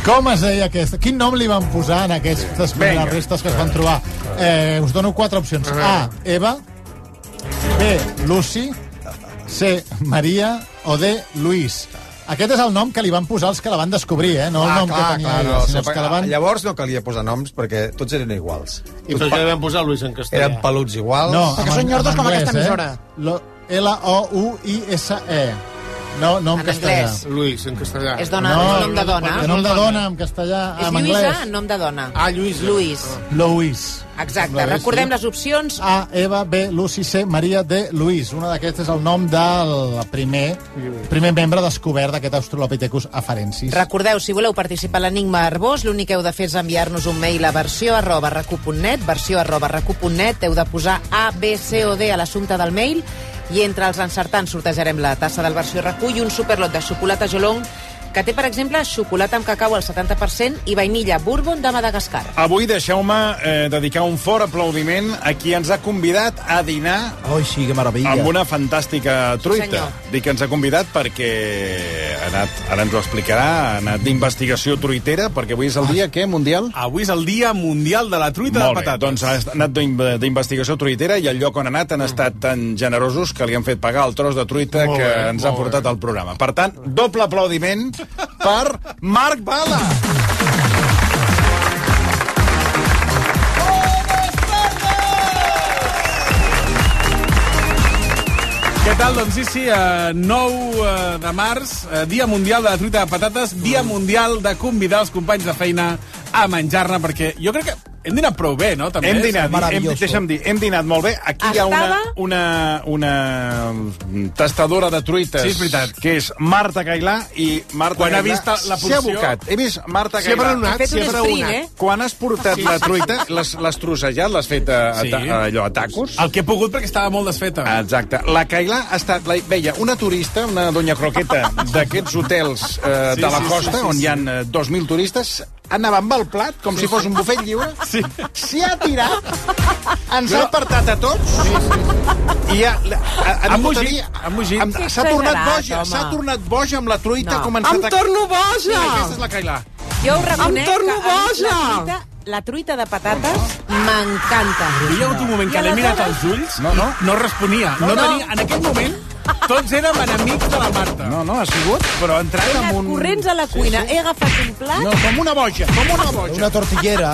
Com es deia aquesta? Quin nom li van posar en aquestes primeres
Vinga.
restes que es van trobar? Eh, us dono quatre opcions. A, Eva. B, Lucy. C, Maria. O D, Luis. Aquest és el nom que li van posar els que la van descobrir, eh?
Ah,
No el nom que tenia ella,
Ah, no,
sinó els
sempre-
que la van...
Llavors no calia posar noms perquè tots eren iguals.
I tots ja vam posar Luis en castellà.
Eren peluts iguals.
No,
Perquè
en-
són nyordos
en
com aquesta
anglès,
emissora.
Eh? Lo- L-O-U-I-S-E. No, no en, castellà.
Luis, en castellà.
És dona, no, és nom de dona.
De nom de dona, en castellà,
És
en
Lluïsa,
anglès.
en nom de dona.
Ah, Lluís.
Lluís.
Louis.
Exacte. Recordem les opcions.
A, Eva, B, Lucy, C, Maria, D, Luis. Una d'aquestes és el nom del primer, primer membre descobert d'aquest Australopithecus afarensis.
Recordeu, si voleu participar a l'Enigma Arbós, l'únic que heu de fer és enviar-nos un mail a versió arroba recu.net, versió arroba recu.net, heu de posar A, B, C o D a l'assumpte del mail i entre els encertants sortejarem la tassa del versió recu i un superlot de xocolata Jolong que té, per exemple, xocolata amb cacau al 70% i vainilla bourbon de Madagascar.
Avui deixeu-me eh, dedicar un fort aplaudiment a qui ens ha convidat a dinar
Ai, sí, que meravella.
amb una fantàstica truita.
senyor.
Dic que ens ha convidat perquè ha anat, ara ens ho explicarà, ha anat d'investigació truitera, perquè avui és el dia, què, mundial?
Avui és el dia mundial de la truita
Molt
de
bé,
patates.
doncs ha anat d'in- d'investigació truitera i el lloc on ha anat han estat tan generosos que li han fet pagar el tros de truita
Molt
que
bé,
ens ha
molt
portat al programa. Per tant, doble aplaudiment per Marc Bala.
Què tal? Doncs sí, sí, eh, 9 eh, de març, eh, Dia Mundial de la Truita de Patates,
Mm.
Dia Mundial de convidar els companys de feina a menjar-ne, perquè jo crec que hem dinat prou bé, no? També eh?
Hem dinat, hem, deixa'm dir, hem dinat molt bé. Aquí hi ha una,
Estava-
una, una mm, tastadora de truites,
Sí, és veritat.
que és Marta Gailà, i Marta
Quan ha
Gailà
vist la- la
s'hi ha
porció-
abocat. He vist Marta
S'hi ha
Gailà.
berenat, Ha fet s'hi ha un sprint, berenat. eh?
Quan has portat
Sí.
la truita, l'has l'has trossejat, l'has fet a, a,
Sí.
ta- a, allò, a tacos?
El que he pogut perquè estava molt desfeta.
Exacte. La Cailà ha estat... La, veia una turista, una doña croqueta d'aquests hotels eh,
Sí,
de la
sí,
costa,
sí, sí,
on
sí.
hi ha eh, 2.000 turistes, anava amb el plat, com si fos un bufet lliure, s'hi ha tirat, ens ha apartat a tots, i ha, ha, ha,
Ha
vingut a
mugit,
dir-
ha mugit.
em-
Que
S'ha tornat
exagerat,
boja,
home.
s'ha tornat boja amb la truita,
No.
ha començat
Em
a-
torno boja!
Sí, aquesta és la Cailà.
Jo us reconec
Em torno
que a mi
boja!
La truita, la truita de patates m'encanta.
Hi ha hagut un moment
I
que l'he
aleshores-
mirat als ulls no, no. no responia. No, no,
No, no.
Tenia, en aquell moment Tots érem enemics de la Marta. No,
no, ha sigut, però
He
entrant
anat
amb un...
corrents a la cuina, he agafat un plat...
No, com una boja, com una boja. Una tortillera.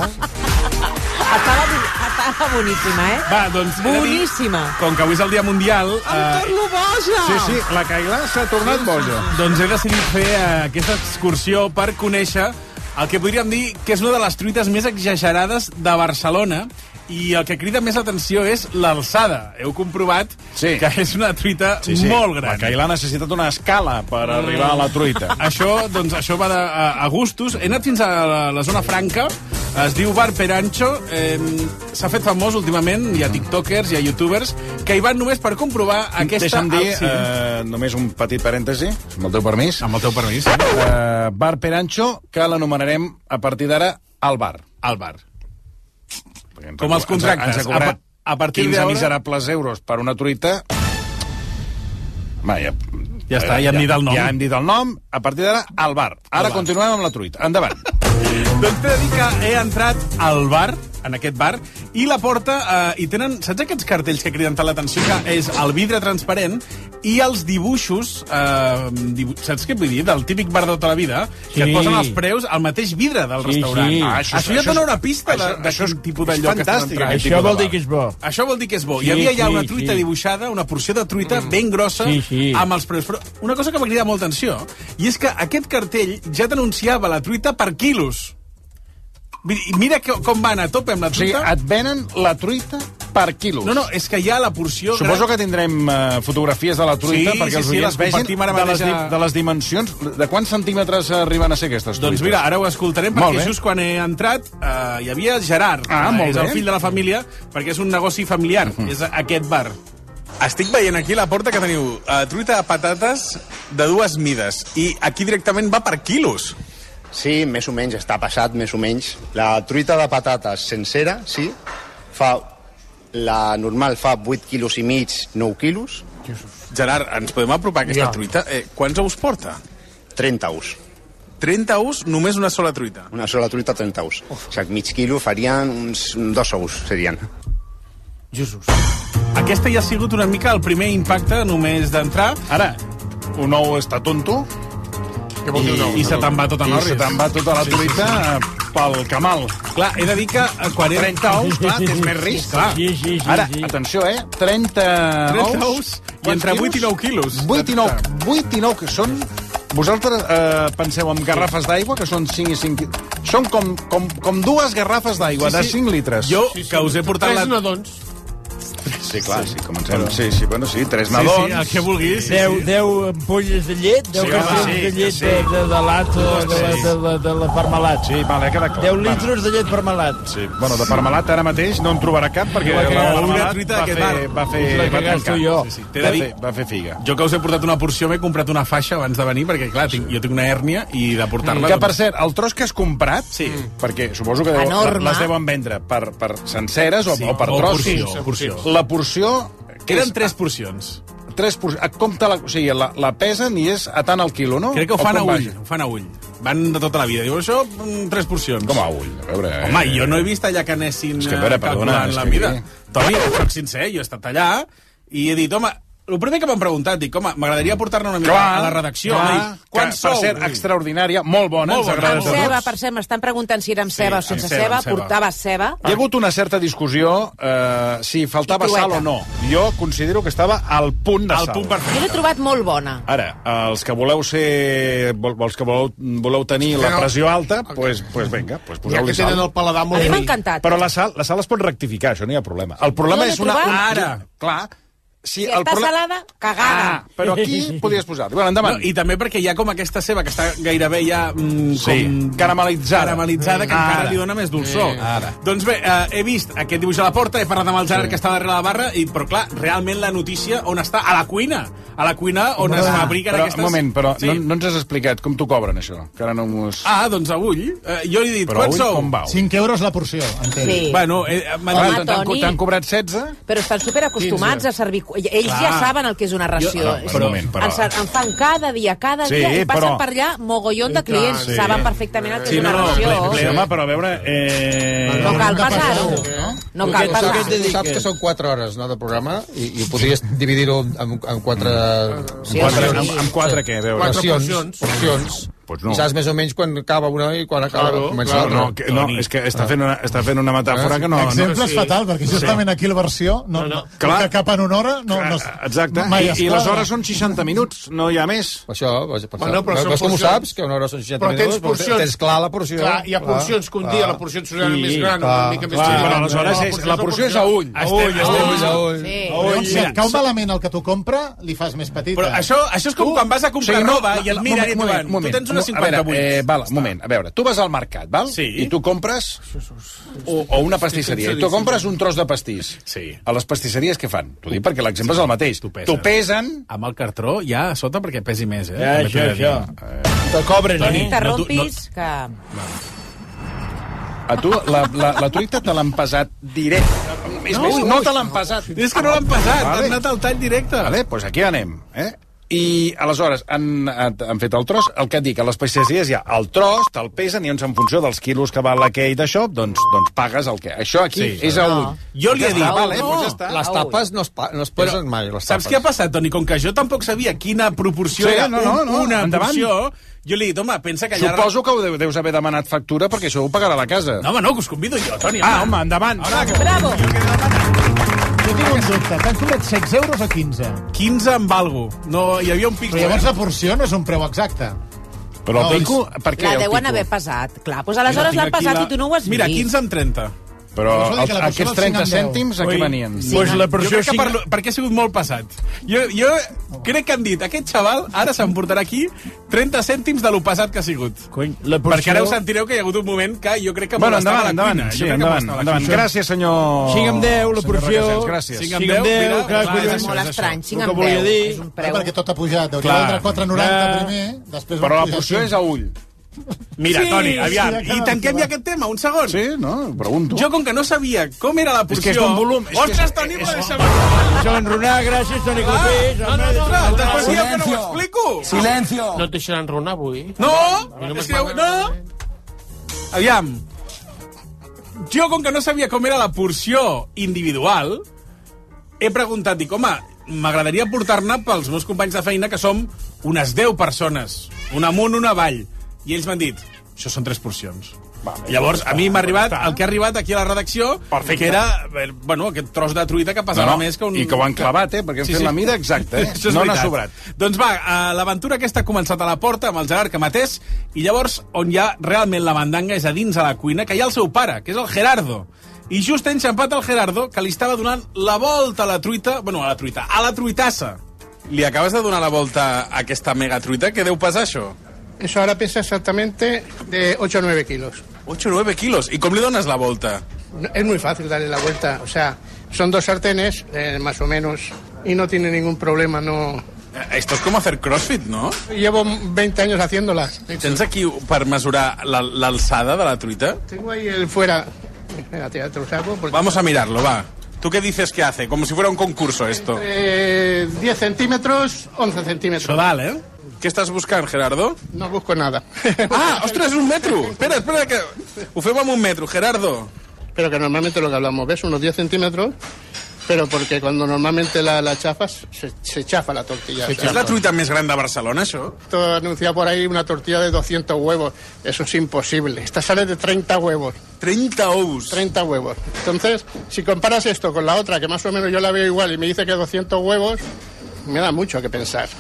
Estava, bo- estava boníssima, eh?
Va, doncs... he de dir,
Boníssima.
Com que avui és el dia mundial... eh,
Torno boja!
la Cailà s'ha tornat boja.
Doncs he decidit fer eh, aquesta excursió per conèixer el que podríem dir que és una de les truites més exagerades de Barcelona i el que crida més l'atenció és l'alçada. Heu comprovat sí. que és una truita sí, sí. molt gran.
La Cailà ha necessitat una escala per arribar a la truita.
Això, doncs, això va de, a, a gustos. He anat fins a la, la zona franca, es diu Bar Perancho, eh, s'ha fet famós últimament, hi ha tiktokers, hi ha youtubers, que hi van només per comprovar aquesta
Deixa'm dir,
alzina.
eh, només un petit parèntesi, amb el teu permís. Amb
el teu permís.
Eh, bar Perancho, que l'anomenarem a partir d'ara al bar.
Al bar.
Com
els
Ens
contractes.
ha, ens ha cobrat
A pa- a partir
15
d'ara-
miserables euros per una truita. Va, ja,
Ja està, ja hem dit el nom.
Ja hem dit el nom. A partir d'ara, al bar. Ara continuem amb la truita. Endavant.
Doncs t'he de dir que he entrat al bar, en aquest bar, i la porta, eh, i tenen, saps aquests cartells que criden tant l'atenció, que és el vidre transparent i els dibuixos, eh, dibu saps què vull dir, del típic bar de tota la vida, sí. que et
Sí.
posen els preus al mateix vidre del
Sí,
restaurant.
sí.
Ah, això, això, ja et dona una pista de,
això-
de
això
quin
és-
tipus de
és
lloc que estàs
fantàstic,
entrant.
aquest tipus de bar.
és bo. Això vol dir que és bo.
Sí,
Hi havia ja
sí,
una truita
sí.
dibuixada, una porció de truita mm. ben grossa,
Sí, sí.
amb els preus. Però una cosa que m'ha cridat molta atenció, i és que aquest cartell ja t'anunciava la truita per quilos. Vull dir, Mira que, com van a tope amb la
sigui,
truita.
et venen la truita per quilos.
No, no, és que hi ha la porció...
Suposo que tindrem eh, fotografies de la truita
Sí, sí,
perquè els
sí,
oients
les
vegin
compartim ara
de les,
mateix a-
di- de les dimensions. De quants centímetres arriben a ser aquestes truites?
Doncs mira, ara ho escoltarem
Molt
perquè
bé.
just quan he entrat eh, hi havia Gerard,
Ah,
que
molt
és el
bé. Mhm.
fill de la família, perquè és un negoci familiar, és aquest bar.
Estic veient aquí la porta que teniu uh, truita de patates de dues mides i aquí directament va per quilos.
Sí, més o menys, està passat més o menys. La truita de patates sencera, sí, fa... La normal fa 8 quilos i mig, 9 quilos.
Gerard, ens podem apropar a aquesta
Ja.
truita? Eh, quants ous porta?
30 ous.
30 ous, només una sola truita?
Una sola truita, 30 ous. O sigui, mig quilo farien uns dos ous, serien.
Jesús. Aquesta ja ha sigut una mica el primer impacte només d'entrar.
Ara, un nou està tonto.
Què vol dir un nou? I se te'n va tot a
I
Norris.
se te'n va tota la
Sí, sí, sí.
truita eh, pel camal.
Clar, he de dir que a 40...
30 ous, clar, tens més risc, clar.
Sí, sí, sí,
Ara,
sí.
atenció, eh? 30, ous.
30 ous i entre 8 i 9 quilos.
8 i 9, 8 i 9, que són... Vosaltres eh, penseu en garrafes d'aigua, que són 5 i 5... Són com, com, com dues garrafes d'aigua,
Sí,
de
sí.
5 litres.
Jo, que us he portat la...
nadons.
Sí, clar, sí, comencem. Sí, sí, bueno, sí, tres nadons.
Sí, sí, el que vulguis. Sí,
10,
sí.
10 ampolles de llet, 10
Sí,
sí,
home,
cartells
sí,
de llet
sí.
sí. de, de, de lata o de, la,
Sí.
de, la, de la parmalat.
Sí, vale, queda clar.
10
Vale.
litres de llet parmalat.
Sí, Bueno, de parmalat ara mateix no en trobarà cap perquè
Jo la
la,
que-
la
una
parmalat
truita
va
d'aquest
fer,
bar.
va fer,
És la que
va
gasto
tancar.
jo.
Sí, sí.
T'he de
Va,
dir-
fer, va fer figa.
Jo que us he portat una porció, m'he comprat una faixa abans de venir, perquè, clar, tinc, jo tinc una hèrnia i de portar-la...
Mm.
doncs-
Que, per cert, el tros que has comprat, sí. perquè suposo que deu,
Enorme.
les deuen vendre per, per senceres o,
Sí,
o per
o
tros.
porció,
Sí,
porció.
La porció... que
Eren
és-
tres porcions.
Tres porcions. Compte la, o sigui, la, la pesen i és a tant al quilo, no?
Crec que ho
O
fan a
com
ull,
vaja?
ho fan a ull. Van de tota la vida. Diu, això, mm, tres porcions.
Com a ull? A veure...
Home, jo no he vist allà que anessin
És que, a veure,
eh,
perdona,
calculant
és
la
que
mida.
aquí-
Toni, soc sincer, jo he estat allà i he dit, home, el primer que m'han preguntat, dic, home, m'agradaria portar-ne una mica a la redacció.
Mm. clar,
Clar,
que, per cert, extraordinària, molt bona,
Molt
ens
bona,
agrada
molt
a
bona.
tots.
Ceba, per cert, m'estan preguntant si era amb ceba o
Sí,
sense
amb ceba,
ceba.
amb ceba.
Portava ceba.
Hi ha hagut una certa discussió eh, si faltava
I crueta.
sal o no. Jo considero que estava al punt de
Al
sal.
punt Jo l'he trobat molt bona.
Ara, els que voleu ser... vol- Els que voleu, voleu tenir la
Però-
pressió alta, doncs pues, pues vinga, pues
Ja que
poseu-li sal.
tenen el paladar molt
A mi m'ha
ric.
encantat.
Però la sal, la sal es pot rectificar, això no hi ha problema. El problema
No l'he
és una...
trobat.
Ara, clar.
Si està salada, cagada.
Ah, però aquí podies posar-li. Bueno, endavant.
No, I també perquè hi ha com aquesta ceba que està gairebé ja mm,
Sí,
com...
caramel·litzada.
Caramelitzada, que
Ara.
encara li dona més dolçor.
Sí. Ara.
Doncs bé, eh, he vist aquest dibuix a la porta, he parlat amb el Gerard que està darrere la barra, i, però clar, realment la notícia on està? A la cuina. A la cuina on es
Però,
fabriquen
però,
aquestes...
Un moment, però
Sí.
no, no ens has explicat com t'ho cobren, això. Que ara no m'ho has...
Ah, doncs a ull. Eh, jo li he dit,
Però
quants
ull
sou?
com vau?
5 euros la porció, entenc.
Sí.
Bueno, eh, m'han
Home,
dit-
Toni. T'han co- t'han
cobrat 16?
Però estan superacostumats
Quinze.
a servir... cu- Ells
Clar.
ja saben el que és una ració.
Jo- Ah,
És-
un moment, però-
En, sa- en fan cada dia, cada
Sí,
dia, i passen
però-
per allà mogollon
Sí,
de
clar,
clients.
sí.
Saben perfectament el que
Sí,
és una
no, no,
ració.
ple, ple, home, però a veure... Eh...
No cal passar-ho. No cal
saps,
parlar.
saps, saps que són 4 hores no, de programa i, i ho podries dividir-ho en, en 4...
Sí, Quatre- sí. amb- amb quatre què, a veure? Quatre
Porcions. porcions.
Pues
I saps més o menys quan acaba una i quan acaba claro, Ah, comença Ah, l'altra.
no, que, no, és que està fent una, està fent una metàfora que no...
L'exemple
no,
és fatal, perquè justament aquí la versió no, no,
Clar.
que cap en una hora no, no,
Exacte,
mai
I,
es
i les
quadra.
hores són 60 minuts, no hi ha més.
Això, vaja, per
Bueno, però són
Veus com ho
porcions.
saps, eh, que una hora són 60
Però tens
minuts, però
porcions.
tens clar la porció.
Clar, hi ha porcions que un dia la porció et sonarà més gran, una mica més gran.
però aleshores
La
és, la
porció és la
porció és a
porció.
ull.
A ull, a ull, a ull. Sí. A
Oh,
ull,
Llavors, si
mira,
et cau malament el que tu compra, li fas més petita. Uh,
Però això, això és com quan vas a comprar
sí, no,
roba i et
no,
miren i et
moment,
diuen, tu
moment,
tens una
no,
a veure,
58.
eh, val, un moment, a veure, tu vas al mercat, val? Sí. I tu compres o, o una pastisseria, i tu compres un tros de pastís. Sí. A les pastisseries què fan? T'ho dic perquè l'exemple és el mateix. T'ho pesen...
Amb el cartró ja a sota perquè pesi més, eh?
Ja,
També t'ho he de
això,
dir.
Te cobren,
Toni,
eh?
Interrompis, que...
A tu la, la, la truita te l'han pesat directe. Més, no, més, no te l'han pesat.
És que no l'han pesat,
Vale.
han anat al tall directe.
Vale, doncs aquí anem, eh? I aleshores han, han han fet el tros, el que et dic, a les pastisseries hi ha el tros, te'l pesen i doncs en funció dels quilos que val aquell d'això, doncs, doncs pagues el que... Això aquí sí, és el...
Ah. Jo li he
Ja
dit...
està, vale, doncs ja està.
Les
tapes no es, no es pesen Però, mai, les
Saps què ha passat, Toni? Com que jo tampoc sabia quina proporció
Sí,
era
no, no,
un-
no,
una
endavant.
porció, jo li he dit, home, pensa que allà...
Suposo que ho deu- deus haver demanat factura perquè això ho pagarà la casa.
No, home, no, que us convido jo, Toni.
Ah, home, endavant.
Ara, que...
Bravo! Jo tinc un dubte. T'han cobrat 6 euros o 15?
15 amb algo. No, hi havia un pico.
Però llavors la porció no és un preu exacte.
Però
el pico,
per
La deuen haver pesat, clar. Doncs aleshores l'han pesat i tu no ho has
Mira,
vist.
15 amb 30.
Però
Això vol dir que la
els-
porció
aquests
del cinc
30
amb deu.
cèntims a què
Ui.
venien?
Pues la jo crec que per, perquè ha sigut molt passat. Jo, jo crec que han dit, aquest xaval ara s'emportarà aquí 30 cèntims de lo passat que ha sigut.
Cony, la
porció... Perquè ara
porció-
us sentireu que hi ha hagut un moment que jo crec que
Bueno, endavant,
molestava la
endavant.
cuina.
Sí,
jo crec que
endavant,
molestava
endavant.
cuina.
Gràcies, senyor...
Cinc amb deu, la
senyor
porció.
Requesens, Gràcies.
Cinc amb deu, mira,
clar,
clar,
collons.
és molt estrany,
cinc
El
amb
que volia
deu.
dir-
És un preu.
Perquè tot ha pujat. Deuria
Clar.
vendre 4,90
Ja.
primer, després...
Però la porció és a
ull.
Mira,
Sí,
Toni, aviam,
sí,
i
acaba,
tanquem ja aquest tema, un segon.
Sí, no, pregunto.
Jo, com que no sabia com era la
que
porció...
és d'un volum, és que-
Ostres, Toni,
és-
però deixa'm...
Joan Ronar, gràcies, Toni
Ah,
Clopés.
no, no, no, no, després dieu que no ho
Silencio.
explico.
No et deixaran raonar avui.
No, és que... No! Aviam. Jo, com que no sabia com era la porció individual, he preguntat, dic, home, m'agradaria portar-ne pels meus companys de feina, que som unes 10 persones, una amunt, una avall. I ells m'han dit, això són tres porcions. Vale, Llavors, a mi m'ha arribat el que ha arribat aquí a la redacció, Perfecte. que era eh, bueno, aquest tros de truita que pesava
No, no,
més que un...
i que ho han clavat, eh, perquè hem fet la mida exacta, eh?
Això és
No n'ha
veritat.
sobrat.
Doncs va, eh, l'aventura aquesta ha començat a la porta amb el Gerard Camatés i llavors on hi ha realment la mandanga és a dins a la cuina, que hi ha el seu pare, que és el Gerardo. I just ha enxampat el Gerardo, que li estava donant la volta a la truita... Bueno, a la truita, a la truitassa.
Li acabes de donar la volta a aquesta mega truita? Què deu pesar, això?
Eso ahora pesa exactamente de 8 o 9 kilos.
8 o 9 quilos. I com li dones la volta?
No- Es muy fácil darle la vuelta. O sea, son dos sartenes, eh, más o menos, y no tiene ningún problema. No.
Eh, Esto es como hacer crossfit, ¿no?
Llevo 20 años haciéndolas.
Tens aquí per mesurar la- l'alçada de la truita?
Tengo ahí el fuera. Espérate, ya te lo saco. Porque...
Vamos a mirarlo, va. ¿Tú qué dices que hace? Como si fuera un concurso esto.
Eh, 10 centímetros, 11 centímetros.
Vale.
¿Qué estás buscando, Gerardo?
No busco nada.
Ah, ostres, un metro! Espera, espera, que... Ho fem amb un metro, Gerardo.
Pero que normalmente lo que hablamos, ¿ves? Unos 10 centímetros. Pero porque cuando normalmente la, la chafas, se, se chafa la tortilla. O sea,
És la truita més gran de Barcelona, això?
Esto anuncia por ahí una tortilla de 200 huevos. Eso es imposible. Esta sale de 30 huevos.
30 huevos.
30 huevos. Entonces, si comparas esto con la otra, que más o menos yo la veo igual y me dice que 200 huevos, me da mucho que pensar.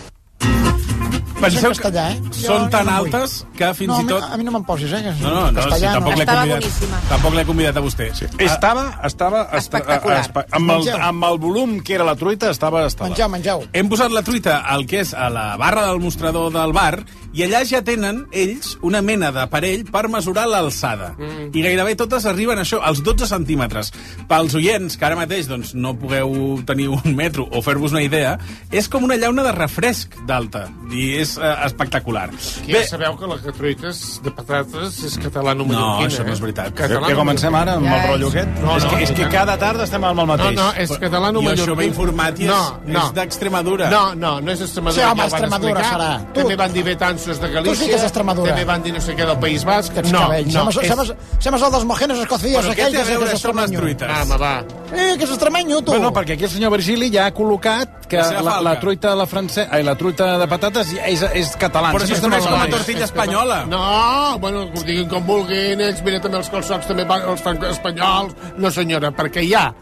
Penseu que
castellà, eh?
són tan altes que fins
No,
i tot...
A mi no me'n posis, eh?
No, no, no, si tampoc l'he convidat, tampoc l'he convidat a vostè. Sí.
Ah.
Estava, estava... est-
Espectacular.
a- a- espe- Amb el,
Mengeu.
amb el volum que era la truita, estava... estava.
Mengeu,
mengeu.
Hem posat la truita al que és a la barra del mostrador del bar i allà ja tenen ells una mena d'aparell per mesurar l'alçada. Mm. I gairebé totes arriben a això, als 12 centímetres. Pels oients, que ara mateix doncs, no pugueu tenir un metro o fer-vos una idea, és com una llauna de refresc d'alta. I és és eh, espectacular.
Aquí ja sabeu que la que truites de patates és català eh? no
No, això no és veritat.
Ja comencem ara amb el rotllo aquest?
No,
És
no,
que- és que cada tarda estem amb el mateix.
No, no, és català no
Jo això m'he
informat i és- és
d'Extremadura. No, no, no és d'Extremadura.
Sí, home,
ja ho van
Extremadura
explicar.
serà. Tu-
També van dir betanzos de Galícia.
sí que és Extremadura.
També van dir no sé què del País Basc.
Aquests
No,
cabells.
no.
Semes, és... semes, semes el dels mojenos escocíos
Però què
aquell
té a
que és,
veure
que és
això amb les
extremenyo.
truites? Ah, home, va.
Eh, que és extremenyo, tu.
Bueno, perquè aquí el senyor Virgili ja ha col·locat que
La seva
la, la,
falca.
truita de la francesa, ai, la truita de patates ja és, és catalana.
Però si es
Estem
coneix
al
com a
mateix.
tortilla espanyola. No, bueno, que ho diguin com vulguin, ells mira també els calçots, també van els franco- espanyols. No, senyora, perquè hi ha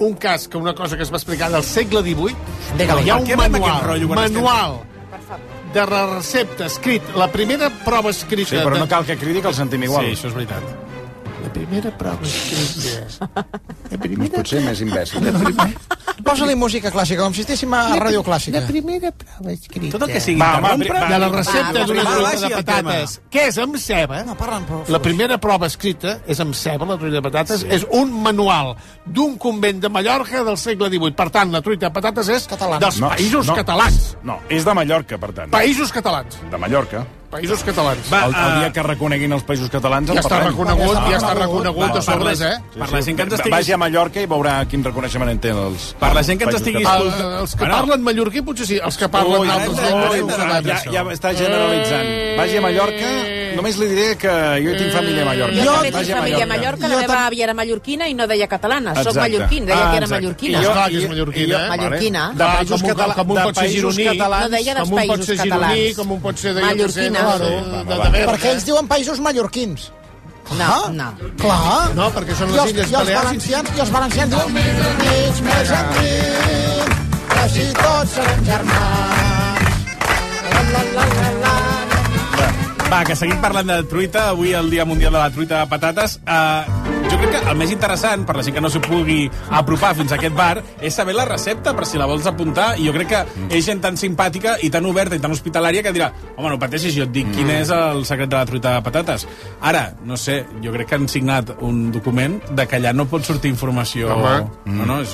un cas que una cosa que es va explicar del segle XVIII,
Vinga,
hi ha
per
un
què anem amb
manual,
aquest rotllo quan estem-
manual de la recepta escrit, la primera prova escrita...
Sí, però
de-
no cal que cridi que el sentim igual.
Sí, això
és veritat.
La primera prova escrita... La primera...
Potser més imbècil.
Posa-li música clàssica, com si estéssim a ràdio clàssica.
La primera prova escrita.
Tot el que sigui
va, home,
interrompre.
va, de la
Va,
recepta
va,
d'una
va,
truita
baixi
de
el
patates,
tema.
que és amb ceba,
No, parlen, però...
la primera prova escrita és amb ceba, la truita de patates, sí. és un manual d'un convent de Mallorca del segle XVIII. Per tant, la truita de patates és Catalans. dels no, països no. catalans.
No, és de Mallorca, per tant.
Països catalans.
De Mallorca.
Països catalans.
Va, el, el
eh,
dia que reconeguin els països catalans...
Ja
en
està
parlem.
reconegut, ja està reconegut, a sobres, eh?
Per la gent que ens estigui... Vagi a Mallorca i veurà quin reconeixement en tenen els...
Per la gent que ens estigui
El, els que
Bueno.
parlen mallorquí potser sí, els que parlen
Ui,
d'altres
ara
llengües,
hem de-
no ho sabem,
ja-
això.
ja està generalitzant.
Eh.
Vagi a Mallorca, només li diré que jo tinc família a Mallorca.
Jo també
Vagi
tinc família a Mallorca, la meva àvia era mallorquina i no deia catalana, soc
Exacte.
mallorquín, deia que era
exacte.
mallorquina.
I jo-
Clar que és mallorquina, eh?
Mallorquina.
Vale. De
Clar,
països
com un-
catalans-
com un
de
pot ser
països
gironí.
catalans,
No deia dels
com un pot
països
ser gironí,
catalans.
com un pot ser de- jo què sé,
Mallorquina.
no?
Claro.
Sí, va, va, va.
Perquè ells diuen països mallorquins.
No, no.
Clar.
No, perquè són
I
les
els,
Illes
i els
Balears.
valencians, i els valencians diuen mig més endins, que així tots serem germans. La, la, la, la, la.
Va, que seguim parlant de truita. Avui el Dia Mundial de la Truita de Patates. Uh, jo crec que el més interessant, per la gent que no s'ho pugui apropar fins a aquest bar, és saber la recepta, per si la vols apuntar. I jo crec que és gent tan simpàtica i tan oberta i tan hospitalària que dirà home, no pateixis, jo et dic
Mm.
quin és el secret de la truita de patates. Ara, no sé, jo crec que han signat un document de que allà no pot sortir informació...
Home.
No, no, és...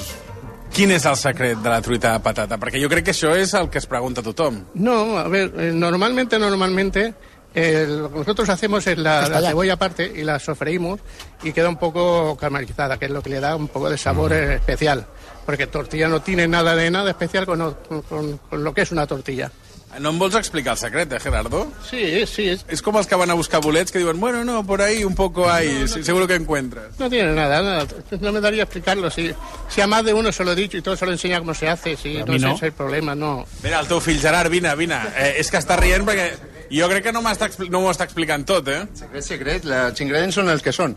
Quin és el secret de la truita de patata? Perquè jo crec que això és el que es pregunta tothom.
No, a ver, eh, normalmente, normalmente, eh, lo que nosotros hacemos es la, la cebolla aparte y la sofreímos y queda un poco caramelizada, que es lo que le da un poco de sabor eh, especial. Porque tortilla no tiene nada de nada especial con, con- con lo que es una tortilla.
No em vols explicar el secret, eh, Gerardo?
Sí, sí. És,
és com els que van a buscar bolets que diuen, bueno, no, por ahí un poco hay, se- seguro que encuentras.
No tiene nada, nada. No me daría a explicarlo. Si, si a más de uno se lo he dicho y todo se lo enseña cómo se hace, si
A
no,
mí
sé
no.
si es el problema, no.
Mira, el teu fill Gerard, vine, vine. Eh, és que està rient perquè jo crec que no m'està expli- no m'ho està explicant tot, eh?
Secret, secret, els ingredients són els que són.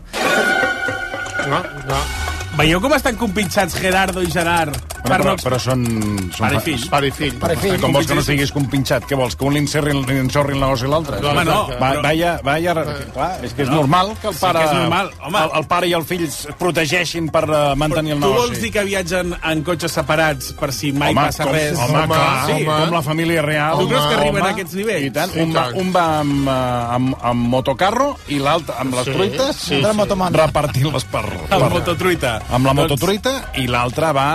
No, no.
Veieu com estan compinxats Gerardo i Gerard?
Bueno, però, però són... són
Pare i fill.
Pare
i fill.
Pare i fill. Com vols que no siguis compinxat? Què vols, que un li encerrin, li ensorrin la nosa i l'altre?
No, home, no,
Va,
però-
vaya, vaya...
Eh.
Clar, és que és
No.
normal que el
Sí
pare...
que és normal, home.
El, el pare i el fill es protegeixin per eh, mantenir el
Tu
negoci.
vols dir que viatgen en cotxes separats per si mai
Home,
passa
com-
res?
home, clar, com la família real.
Tu creus que
Home,
arriben
home.
a aquests nivells?
I tant, un, va, un va amb, eh, amb, amb motocarro i l'altre amb les
Sí,
truites
sí, sí.
repartint-les per, per...
Amb mototruita.
Amb la
Doncs-
mototruita i l'altre va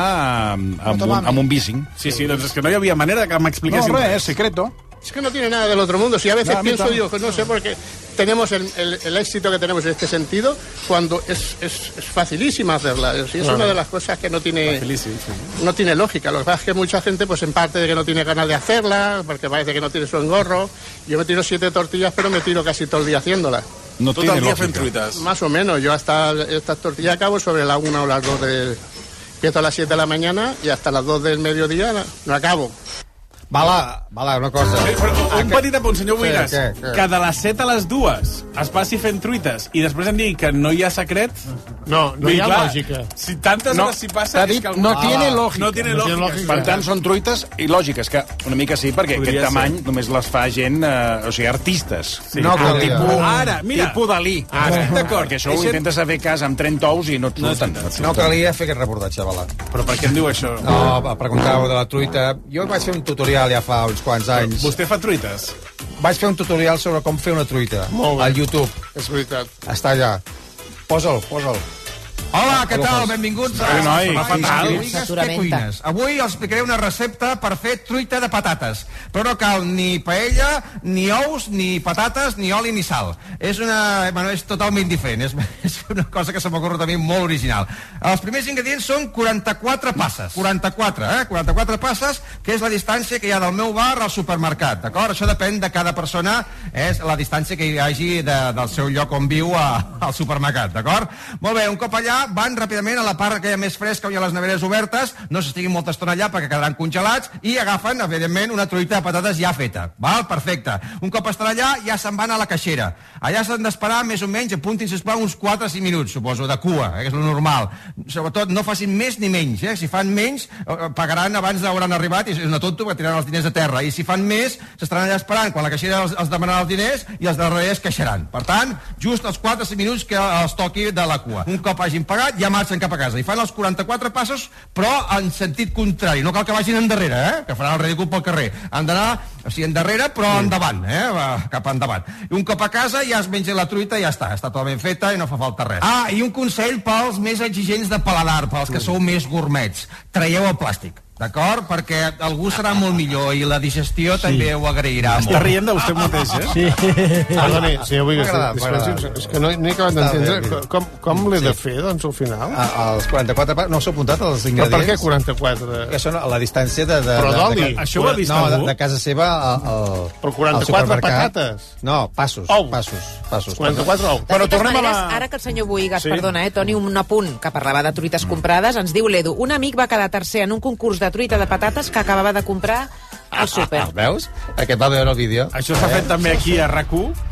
amb, amb, un, amb un bicing.
Sí, sí, doncs és que no hi havia manera que m'expliquessin
No, res,
res.
secreto.
Es que no tiene nada del otro mundo. Si a veces
No, a mí
pienso,
también.
digo, no sé por qué tenemos el, el- el éxito que tenemos en este sentido cuando es, es, es facilísima hacerla. Es, es
Claro.
una de las cosas que no tiene, no tiene lógica. Lo que pasa es que mucha gente, pues en parte de que no tiene ganas de hacerla, porque parece que no tiene su engorro. Yo me tiro siete tortillas, pero me tiro casi todo el día haciéndolas.
No
Tot el dia fent truites.
Más o menos. Yo hasta estas tortillas acabo sobre la una o las dos de... Empiezo a las 7 de la mañana y hasta las 2 del mediodía la- no acabo.
Bala, bala, una cosa.
Un petit apunt, senyor
Sí,
Buigas.
què, què?
Que de les 7 a les 2 es passi fent truites i després em digui que no hi ha secret...
No, no
Vull
hi ha
dir, clar,
lògica.
Si tantes
No,
hores s'hi
t'ha
passa... és
dit,
que algú-
no
Ah,
tiene
va.
lògica.
No tiene lògica.
Per tant, són truites il·lògiques, que una mica sí, perquè
Podria
aquest tamany
ser.
només les fa gent, eh, o sigui, artistes.
Sí. No
Ah,
calia.
tipus,
Ara, mira.
tipus Dalí.
Ara.
D'acord. Perquè això ho
Deixa'm-
intentes a fer cas amb 30 ous i no et surten.
No calia fer aquest reportatge, Bala.
Però per què em diu això?
No, va, preguntàveu de la truita. Jo vaig fer un tutorial ja fa uns quants anys.
Vostè fa truites?
Vaig fer un tutorial sobre com fer una truita.
Molt bé.
Al YouTube.
És veritat.
Està allà. Posa'l, Ah, posa'l. Hola, què tal? Benvinguts a...
Bé, noi.
a
Fatal.
Truites que cuines. Avui els explicaré una recepta per fer truita de patates, però no cal ni paella, ni ous, ni patates, ni oli, ni sal. És una... Bueno, és totalment diferent. És, és una cosa que se m'ha ocorrit a mi molt original. Els primers ingredients són 44 passes. 44, eh? 44 passes, que és la distància que hi ha del meu bar al supermercat, d'acord? Això depèn de cada persona, és la distància que hi hagi de, del seu lloc on viu a, al supermercat, d'acord? Molt bé, un cop allà van ràpidament a la part que hi ha més fresca on hi ha les neveres obertes, no s'estiguin molta estona allà perquè quedaran congelats i agafen, evidentment, una truita de patates ja feta, val? Perfecte. Un cop estan allà, ja se'n van a la caixera. Allà s'han d'esperar més o menys, apuntin, sisplau, uns 4 o 5 minuts, suposo, de cua, eh, que és lo normal. Sobretot, no facin més ni menys, eh? Si fan menys, eh, pagaran abans d'hauran arribat i és una tonto que tiraran els diners a terra. I si fan més, s'estaran allà esperant quan la caixera els, els demanarà els diners i els darrere es queixaran. Per tant, just els 4 o 5 minuts que els toqui de la cua. Un cop hagin pagat, ja marxen cap a casa. I fan els 44 passos, però en sentit contrari. No cal que vagin endarrere, eh? que faran el ridícul pel carrer. Han d'anar, o sigui, endarrere, però endavant, eh? Va, cap endavant. I un cop a casa ja es menja la truita i ja està. Està totalment feta i no fa falta res. Ah, i un consell pels més exigents de paladar, pels que sou més gourmets. Traieu el plàstic. D'acord? Perquè el gust serà molt millor i la digestió sí. també ho agrairà
Està
molt.
rient de vostè mateix, eh? Sí.
Perdoni, senyor Buigas,
M'ha agradat, m'ha
dispensi,
agradat.
és que no, no he acabat
Està bé,
d'entendre
bé.
com, com l'he de
Sí.
fer, doncs, al final.
A, als 44 pa... No s'ha apuntat als
Però
ingredients.
per què 44?
Que són a la distància de... de
Però
de-
d'oli.
de, ca-
Això ho ha vist
no,
algú?
De, de casa seva al, al,
Però 44
al supermercat.
patates.
No, passos,
Ous.
passos, passos.
44 ous.
De bueno, totes maneres, la... ara que el senyor Boigas,
Sí.
sí. perdona, eh, Toni, un apunt que parlava de truites comprades, ens diu l'Edu, un amic va quedar tercer en un concurs de truita de patates que acabava de comprar
Ah,
al súper.
El veus? Aquest va veure el vídeo.
Això s'ha
Eh?
fet també aquí a rac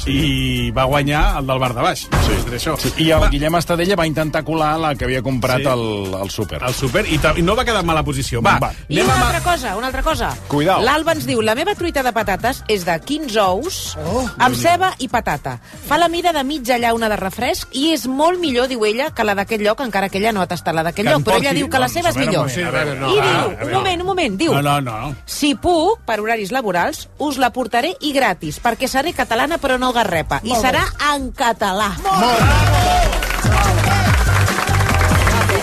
i va guanyar el del bar de baix. Sí. Això. Sí.
I el Guillem Estadella va intentar colar la que havia comprat
Sí.
al el, súper.
El súper, i, ta- i no va quedar en mala posició. Va, va.
I una altra cosa, una altra cosa.
Cuidao.
L'Alba ens diu, la meva truita de patates és de 15 ous, oh, amb ceba i patata. Fa la mida de mitja llauna de refresc i és molt millor, diu ella, que la d'aquest lloc, encara que ella no ha tastat la d'aquest
Que
lloc,
en
però
posi,
ella diu que la
doncs,
seva
a
és
veure,
millor.
sí, a veure, no,
I
va, a
diu,
veure.
un moment, un moment, diu...
No, no, no.
Si puc, per horaris laborals, us la portaré i gratis, perquè seré catalana però no garrepa. I
Molt bé.
serà en català.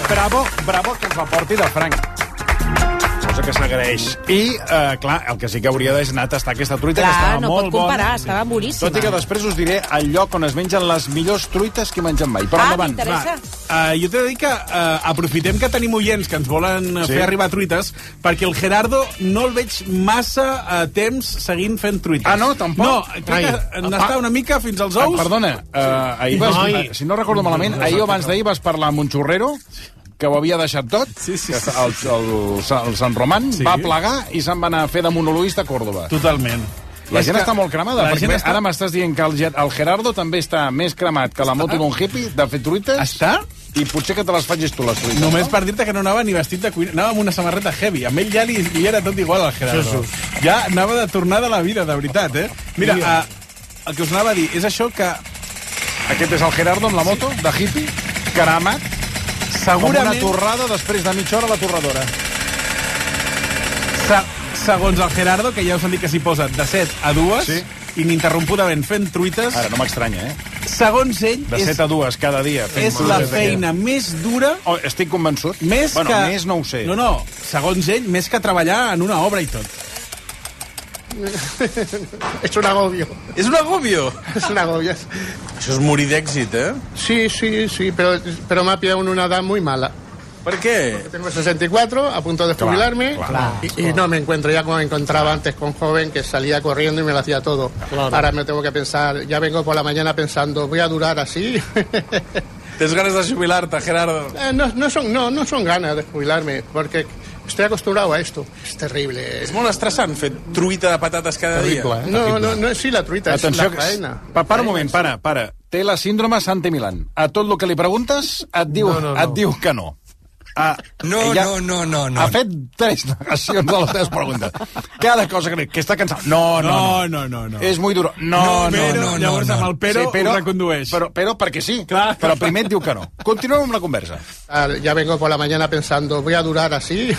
Bravo, bravo que ens la porti de franc. Cosa que s'agraeix. I, eh, clar, el que sí que hauria d'haver és anar a tastar aquesta truita,
Clar,
que estava
no
molt
pot comparar,
bona.
estava boníssima.
Tot i que després us diré el lloc on es mengen les millors truites que he menjat mai.
Ah,
Però Ah, endavant.
Va, eh, jo t'he de dir que eh, aprofitem que tenim oients que ens volen eh,
Sí.
fer arribar truites, perquè el Gerardo no el veig massa eh, temps seguint fent truites. Ah, no? Tampoc? No, crec que
Ai.
n'està una mica fins als ous.
Ah, perdona, eh, ahir vas,
Ai.
si no recordo malament, ahir o abans d'ahir vas parlar amb un xurrero que ho havia deixat tot, sí, sí, sí, el, el, el Sant Román sí. va plegar i se'n va anar a fer de monologuista a Còrdoba.
Totalment.
La
És
gent
que
està molt cremada,
la
perquè
gent
bé,
està-
ara m'estàs dient que el, Ger- el Gerardo també està més cremat que la moto d'un hippie de fer truites.
Està?
I potser que te les facis tu, les truites.
Només per dir-te que no anava ni vestit de cuina, anava amb una samarreta heavy. Amb ell ja li, li era tot igual al Gerardo.
Jesús.
Ja anava de tornada a la vida, de veritat, eh? Mira,
Dia.
a, el que us anava a dir és això que...
Aquest és el Gerardo amb la moto de hippie, cremat, com
Segurament-
una torrada després de mitja hora a la torradora.
Se, segons el Gerardo, que ja us han dit que s'hi posa de 7 a 2, sí. ininterrompudament fent truites...
Ara, no m'estranya, eh?
Segons ell,
De
és,
7 a 2 cada dia. fent
és la
truites de
feina més dura...
Oh, estic convençut.
Més
bueno,
que...
més no ho sé.
No, no, segons ell, més que treballar en una obra i tot.
és un agobio.
És un agobio?
és un agobio.
Això és morir d'èxit, eh?
Sí, sí, sí, pero, pero me ha pillado en una edad muy mala.
¿Por qué?
Tengo 64, a punto de
Claro,
jubilarme,
claro.
y, y no me encuentro ya como me encontraba antes con joven, que salía corriendo y me lo hacía todo.
Claro.
Ahora me tengo que pensar, ya vengo por la mañana pensando, voy a durar así.
Tens ganes de jubilar-te, Gerardo.
Eh, no, no son, no, no son ganas de jubilarme, porque estoy acostumbrado a esto. Es terrible.
És molt estressant fer truita de patates cada
Terrible,
dia.
eh? No, no, no és sí la truita,
Atenció,
és la
que-
faena.
Pa, para un moment, para, para. Té la síndrome Santi Milan. A tot el que li preguntes et diu,
No, no, no.
Et diu que no. A,
No, no, no, no, no.
Ha fet tres negacions a les teves preguntes. Cada cosa que li... Que està cansat. No, no, no.
no, no, no.
És molt duro. No, no,
No, però,
no, no.
llavors,
no.
amb el però, ho
recondueix. Però, però perquè sí. Clar. Però primer et diu que no. Continuem amb la conversa.
Ah, Ya vengo por la mañana pensando, voy a durar así.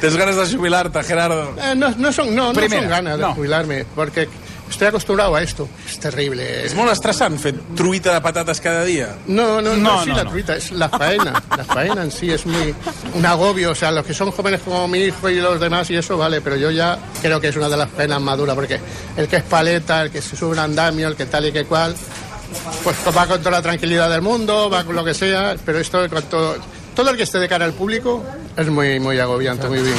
Tens ganes de jubilar-te, Gerardo.
Eh, no, no son, no, no
Primera,
son ganas de
no.
jubilarme, porque
Estoy acostumbrado a esto. Es terrible.
És molt estressant fer truita de patates cada dia.
No, no, no,
No,
sí,
no,
la
no.
truita, es la faena. La faena en sí es muy un agobio. O sea, los que son jóvenes como mi hijo y los demás y eso, vale, pero yo ya creo que es una de las penas más duras, porque el que es paleta, el que se sube un andamio, el que tal y que cual, pues va con toda la tranquilidad del mundo, va con lo que sea, pero esto, en cuanto, todo el que esté de cara al público, es muy, muy agobiante, muy bien.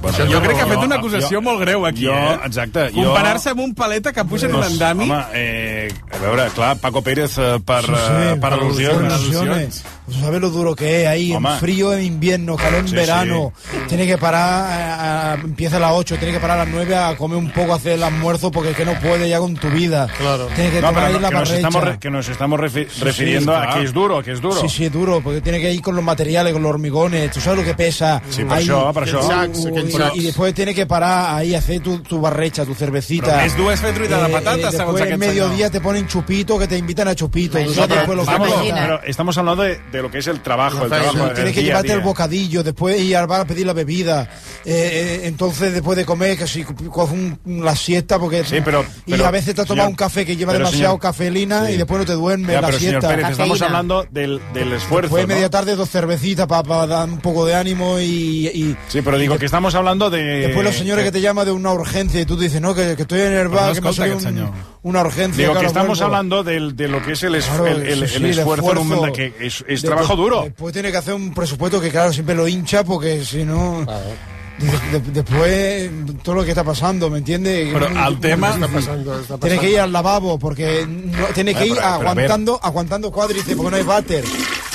Bueno,
jo crec que ha fet una
jo-
acusació molt greu aquí,
jo,
eh?
Exacte. jo-
Comparar-se amb un paleta que puja en un
Pues,
andami...
Home, eh, a veure, clar, Paco Pérez eh, per, sí, sí, per
alusiones.
al·lusions.
Pues ¿Sabes lo duro que es ahí?
Hombre.
En frío, en invierno, calor en
Sí,
verano. Tiene que parar, eh, a- empieza a las 8, tiene que parar a las 9 a comer un poco, a hacer el almuerzo, porque es que no puede ya con tu vida. Claro. Tiene que
No,
tomar
pero
ahí
no,
la
que nos
barrecha.
estamos, re- que nos estamos refi-
Sí, sí,
refiriendo a
clar.
que es duro, que es duro.
Sí, sí, es duro, porque tiene que ir con los materiales, con los hormigones, tú sabes lo que pesa.
Sí, per això, per això. Aquells sacs, aquells sacs.
Y, y después tiene que parar ahí, hacer tu, tu barrecha, tu cervecita. Eh,
Però més dues fer truita de patates, segons
después
aquest
en mediodía te ponen chupito, que te invitan a chupito. Tú
No,
sabes
pero,
después lo que
vamos,
cuesta.
pero estamos hablando de, de lo que es el trabajo, el trabajo
Tienes
del
que
día Pues a
llevarte
día.
el bocadillo, después ir al bar a pedir la bebida. Eh, eh, entonces, después de comer, que si coge un- la siesta, porque.
Sí, pero-
y
pero,
a veces te has tomado
señor-
un café que lleva
pero,
demasiado
señor-
cafeína
sí.
y después no te duermes
Ya,
la
pero señor
siesta.
Pérez, estamos hablando del, del esfuerzo.
Después,
¿no?
media tarde, dos cervecitas para dar un poco de ánimo y. y-
Sí, pero digo que estamos hablando de...
Después los señores que te llaman de una urgencia y tú dices, no, que, que estoy en
Però Eh,
el
Pues no
bar, que me ha
escolta
salido
aquest
un-
senyor.
una
Digo
urgencia. que
que
ahora
estamos
vuelvo.
hablando del- de, lo que es el, es-
Claro,
el, el-
sí,
el
sí,
esfuerzo, en un mundo que es, es
De-
trabajo
de-
duro.
Después tiene que hacer un presupuesto que, claro, siempre lo hincha porque si no. de- de- después, todo lo que está pasando, ¿me entiendes?
Pero
Muy-
al
muy
tema-
difícil.
Está pasando, está pasando.
Tiene que ir al lavabo porque no- tiene que
Ah,
ir
pero- pero a ver.
aguantando, aguantando cuádriceps porque no hay váter.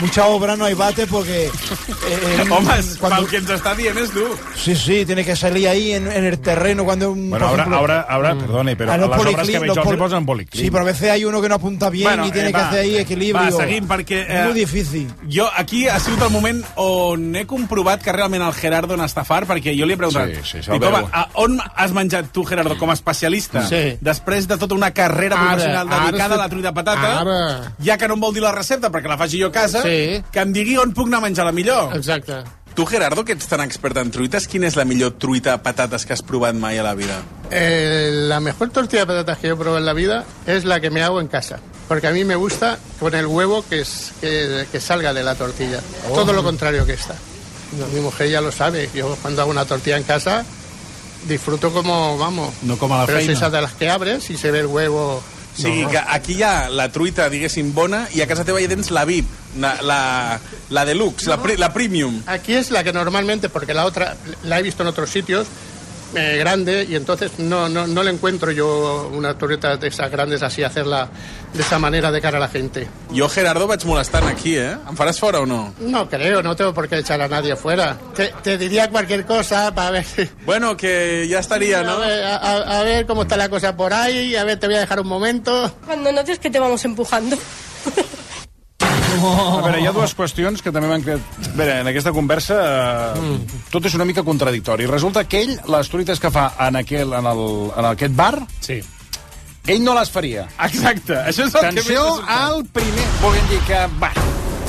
Mucha obra no hay váter porque. eh, eh,
Home, és-
cuando-
pel que ens està dient és tu.
Sí, sí, tiene que salir ahí en, en el terreno cuando un.
Bueno,
por
ahora,
ejemplo, Mm. Ah,
ahora, ahora, perdone, pero
a
a
los
las obras que
policlin-
veis,
los
se
poli-
posan policlín.
Sí, pero a veces hay uno que no apunta bien
pues Bueno,
y tiene
eh,
que
va.
hacer ahí equilibrio.
Va, seguim, perquè, eh,
Muy difícil.
Jo, aquí ha sigut el moment on he comprovat que realment el Gerardo n'està fart, perquè jo li he preguntat,
Sí, sí,
dic,
això ho
home,
veu.
a, on has menjat tu, Gerardo, com a especialista?
Sí.
Després de tota una carrera
Ara,
professional
ara
dedicada
estic-
a la truita de patata,
Ara.
ja que no em vol dir la recepta perquè la faci jo a casa,
Sí.
que em digui on puc anar a menjar la millor.
Exacte.
Tu, Gerardo, que ets tan expert en truites, quina és la millor truita de patates que has provat mai a la vida?
Eh, la mejor tortilla de patatas que yo probé en la vida es la que me hago en casa. Porque a mí me gusta con el huevo que, es, que, que salga de la tortilla.
Oh.
Todo lo contrario que esta. Mi mujer ya lo sabe. Yo cuando hago una tortilla en casa disfruto como, vamos.
No com a la
Pero es
feina.
esa de las que abres y se ve el huevo.
O sigui, que aquí hi ha la truita, diguéssim, bona, i a casa teva hi tens la VIP, la, la, la deluxe, la, pri, la premium.
Aquí es la que normalmente, porque la otra la he visto en otros sitios, eh, grande, y entonces no, no, no le encuentro yo una torreta de esas grandes así, hacerla de esa manera de cara a la gente.
Jo, Gerardo, vaig molestant aquí, eh? Em faràs fora o no?
No creo, no tengo por qué echar a nadie fuera. Te, te diría cualquier cosa para ver.
Bueno, que ya estaría,
A
¿no?
ver, a- a- a ver cómo está la cosa por ahí, a ver, te voy a dejar un momento.
Cuando notes que te vamos empujando.
Oh.
A veure, hi ha dues qüestions que també m'han creat... A veure, en aquesta conversa eh,
Mm.
tot és una mica contradictori. Resulta que ell, les truites que fa en, aquel, en, el, en aquest bar,
sí.
ell no les faria.
Exacte, això és el
Atenció
que...
al primer... Volguem dir que, va,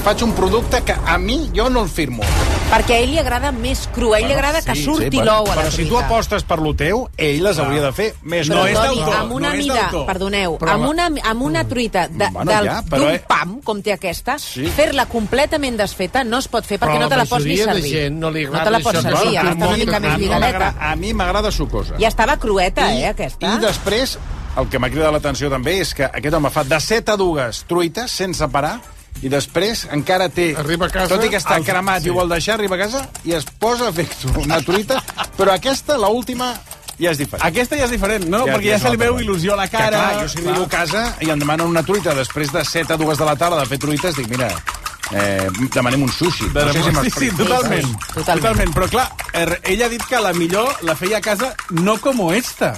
faig un producte que a mi jo no el firmo.
Perquè a ell li agrada més cru, a ell li agrada que surti
però-
l'ou a la
Però si tu
truita.
apostes per lo teu, ell les
Clar.
hauria de fer més
Però,
cru.
Toni, amb una mida, perdoneu,
Però
amb
la-
una, amb una truita de-
Bueno,
del-
ja, però,
d'un
eh.
pam, com té aquesta, fer-la completament desfeta no es pot fer perquè no te la pots ni
majoria de
servir.
gent no li
te la pots servir, ha d'estar una mica més lligadeta.
A mi m'agrada sucosa.
I estava crueta,
I-
eh, aquesta.
I després, el que m'ha cridat l'atenció també és que aquest home fa de 7 a 2 truites sense parar i després encara té... Arriba a
casa,
Tot i que està
al-
cremat
sí.
i ho vol deixar, arriba a casa i es posa a fer una truita, però aquesta, la última ja és diferent.
Aquesta ja és diferent, no? Perquè ja
és
se li
una
veu
altra
il·lusió a la
Que,
cara.
clar, jo si
Clar.
arribo a casa i em demanen una truita després de 7 a 2 de la tarda de fer truites, dic, mira, eh, demanem un sushi.
De
no sé si
sí, sí,
m'explico.
totalment. Totalment. totalment. Però clar, er, ella ha dit que la millor la feia a casa no com esta.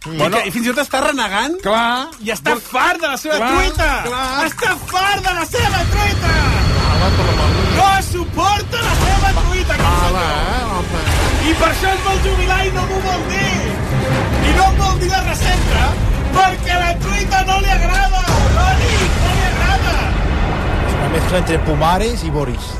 Mm.
Bueno.
Bueno, I, que, I fins i tot està renegant
clar,
i està vol... fart de la seva
Clar,
truita.
clar.
Està fart de la seva truita. No suporta la seva truita, aquest senyor. I per això es vol jubilar i no m'ho vol dir. I no em vol dir la recepta perquè la truita no li agrada. Toni, no li agrada.
Una mezcla entre Pumares y Boris.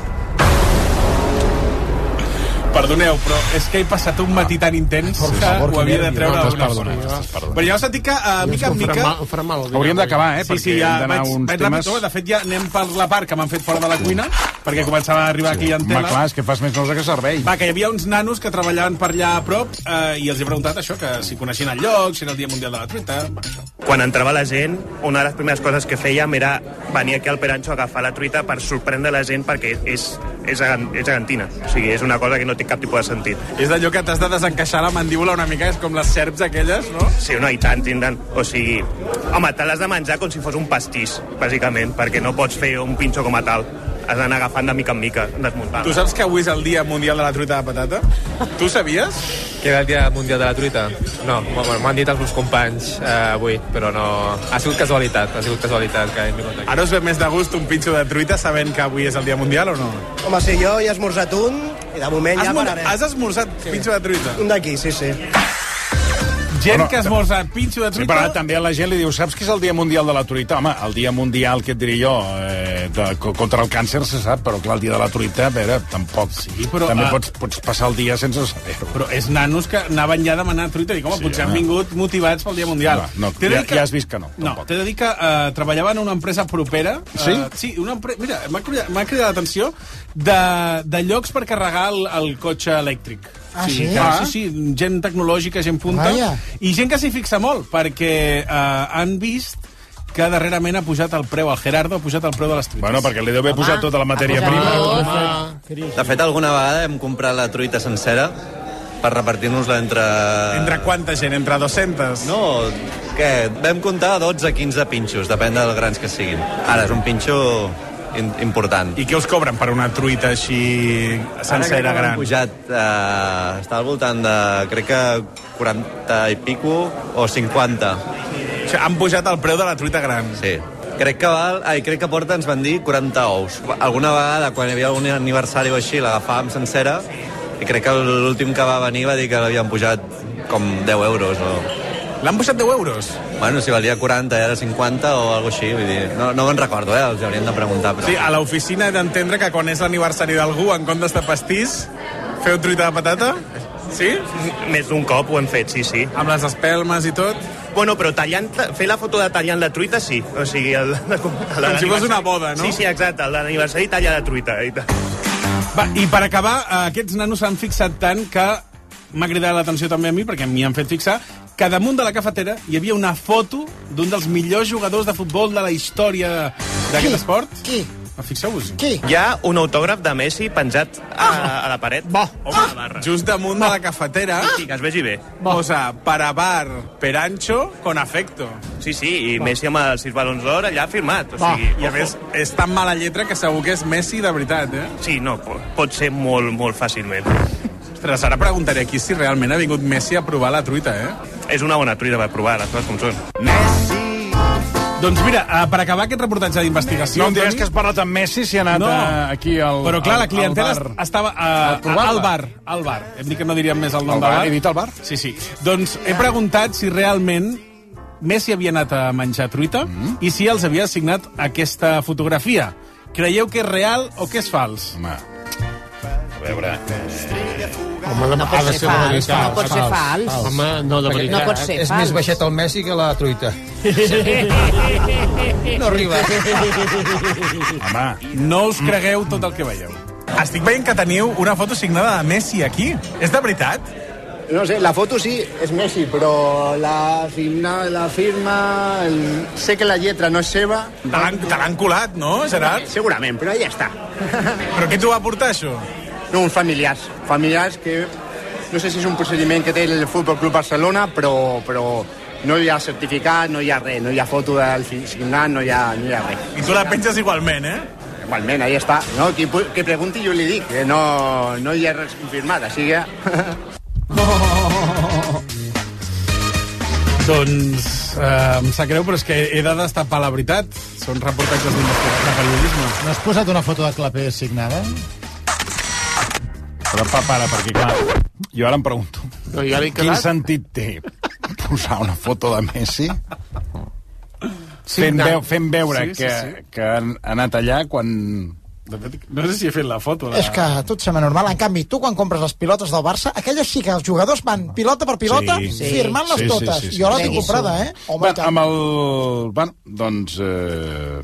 Perdoneu, però és que he passat un matí tan intens
Por
que
favor,
ho havia de
quin
treure
nervi.
d'alguna
Estàs
forma.
perdonat, estàs perdonat.
Però ja us he dit que, eh, mica en mica...
Hauríem d'acabar, eh?
Sí, sí, ja vaig, vaig ràpid, oh, de fet ja anem per la part que m'han fet fora de la cuina, perquè començava a arribar aquí en
Home,
tela.
clar, és que fas més nosa que servei.
Va, que hi havia uns nanos que treballaven per allà a prop eh, i els he preguntat això, que si coneixien el lloc, si era el Dia Mundial de la Truita... Va, això.
Quan entrava la gent, una de les primeres coses que fèiem era venir aquí al Peranxo a agafar la truita per sorprendre la gent perquè és, és, agan- és agantina. O sigui, és una cosa que no té cap tipus de sentit.
És d'allò que t'has de desencaixar la mandíbula una mica, és com les serps aquelles, no?
Sí, no, i tant, i tant. O sigui, home, te l'has de menjar com si fos un pastís, bàsicament, perquè no pots fer un pinxo com a tal. Has d'anar agafant de mica en mica, desmuntant.
Tu saps que avui és el Dia Mundial de la Truita de Patata? Tu sabies?
Que era el dia mundial de la truita? No, bueno, m'han dit els meus companys eh, avui, però no... Ha sigut casualitat, ha sigut casualitat que hem vingut aquí.
Ara us ve més de gust un pinxo de truita sabent que avui és el Dia Mundial o no?
Home, sí, jo ja he esmorzat un i de moment
Has
ja
mon-
pararé.
has esmorzat pinxo de truita?
Un d'aquí, sí, sí.
Gent que esmorza pinxo de
truita... Sí, però ara també a la gent li diu, saps que és el Dia Mundial de la Truita? Home, el Dia Mundial, que et diria jo, eh, de, co- contra el càncer se sap, però clar, el Dia de la Truita, a veure, tampoc. Sí,
però,
també
ah,
pots, pots passar el dia sense saber-ho.
Però és nanos que anaven ja a demanar truita i com,
Sí,
sí, potser
home.
han vingut motivats pel Dia Mundial.
No, no,
T'he de
ja-
dir que-
ja has vist que no,
No, t'he de dir que eh, treballava en una empresa propera. eh,
Sí?
sí, una empre... Mira, m'ha cridat, m'ha cridat l'atenció de, de llocs per carregar el, el cotxe elèctric.
Ah, sí?
que-
Ah.
sí, sí, gent tecnològica, gent punta.
Vaja.
I gent que s'hi fixa molt, perquè eh, han vist que darrerament ha pujat el preu, el Gerardo ha pujat el preu de les truites.
Bueno, perquè li deu haver Home, posat tota la matèria ha pujat prima. tot.
De fet, alguna vegada hem comprat la truita sencera per repartir-nos-la entre...
Entre quanta gent? Entre 200?
No, què? Vam comptar 12-15 pinxos, depèn dels grans que siguin. Ara és un pinxo in- important.
I què us cobren per una truita així sencera gran?
Ara crec que han pujat, eh, està al voltant de, crec que 40 i pico o 50. O
sigui, han pujat el preu de la truita gran.
Sí. Crec que, val, ai, crec que porta, ens van dir, 40 ous. Alguna vegada, quan hi havia un aniversari o així, l'agafàvem sencera i crec que l'últim que va venir va dir que l'havien pujat com 10 euros o...
L'han pujat 10 euros?
Bueno, si valia 40 i ara 50 o alguna així, vull dir, no, no me'n recordo, eh, els hauríem de preguntar. Però...
Sí, a l'oficina he d'entendre que quan és l'aniversari d'algú, en comptes de pastís, feu truita de patata? Sí?
Més d'un cop ho hem fet, sí, sí.
Amb les espelmes i tot?
Bueno, però tallant, fer la foto de tallant la truita, sí. O sigui, el, el, el,
Com si fos una boda, no?
Sí, sí, exacte. el de L'aniversari talla la truita. I tal.
Va, I per acabar, eh, aquests nanos s'han fixat tant que m'ha cridat l'atenció també a mi, perquè m'hi han fet fixar, que damunt de la cafetera hi havia una foto d'un dels millors jugadors de futbol de la història d'aquest esport. Qui? Fixeu-vos.
Qui? Hi ha un autògraf de Messi penjat a,
Ah!
a la paret. Bo.
Just damunt de la cafetera.
Sí, que es Ah! vegi bé.
Posa para bar perancho con afecto.
Sí, sí, i Messi amb els sis balons d'or allà firmat. O
Va.
sigui,
I a més, és tan mala lletra que segur que és Messi de veritat, eh?
Sí, no, po- pot ser molt, molt fàcilment.
Ostres, ara preguntaré aquí si realment ha vingut Messi a provar la truita, eh?
És una bona truita per provar, les coses com són.
Doncs mira, eh, per acabar aquest reportatge d'investigació...
No em diràs
Toni,
que has parlat amb Messi si ha anat
No.
eh, aquí al
Però clar,
al-
la clientela
al bar.
estava a,
A
a,
provar-la.
al bar, al bar. Hem dit que no diríem més el nom
Al
del
bar,
bar.
he dit al bar?
Sí, sí. Doncs he preguntat si realment Messi havia anat a menjar truita i si els havia assignat aquesta fotografia. Creieu que és real o que és fals?
Home, a veure...
Home, de, no
pot
ha de
ser
ser de
fals,
veritat.
no pot ser fals.
Home, no, de
Perquè
veritat.
no pot ser
és
fals.
més baixet el Messi que la truita.
No arriba. Home, no us cregueu tot el que veieu. Estic veient que teniu una foto signada de Messi aquí. És de veritat?
No sé, la foto sí és Messi, però la firma, la firma el... sé que la lletra no és seva.
Te l'han- te l'han colat, no, Gerard?
Segurament, però ja està.
Però què t'ho va portar, això?
No, uns familiars. Familiars que... No sé si és un procediment que té el Futbol Club Barcelona, però, però no hi ha certificat, no hi ha res, no hi ha foto del signant, no hi ha, no hi ha res.
I tu la penges igualment, eh?
Igualment, ahí està. No, qui, pu- que pregunti jo li dic, que no, no hi ha res confirmat, així que...
Doncs eh, em sap greu, però és que he de destapar la veritat. Són reportatges d'investigació de periodisme.
No has posat una foto de clapé signada?
Però pa, para, perquè clar, jo ara em pregunto,
No, ja l'he
quin
quedat.
sentit té posar una foto de Messi
Sí,
fent,
no.
veu, fent veure
Sí, sí,
que,
sí.
que han anat allà quan
De fet, no sé si he fet la foto. La...
És que a tu et sembla normal. En canvi, tu quan compres les pilotes del Barça, aquelles sí que els jugadors van pilota per pilota
Sí.
sí. firmant-les totes. Jo la tinc comprada, eh? Home,
bueno, amb el... Bueno, doncs... Eh...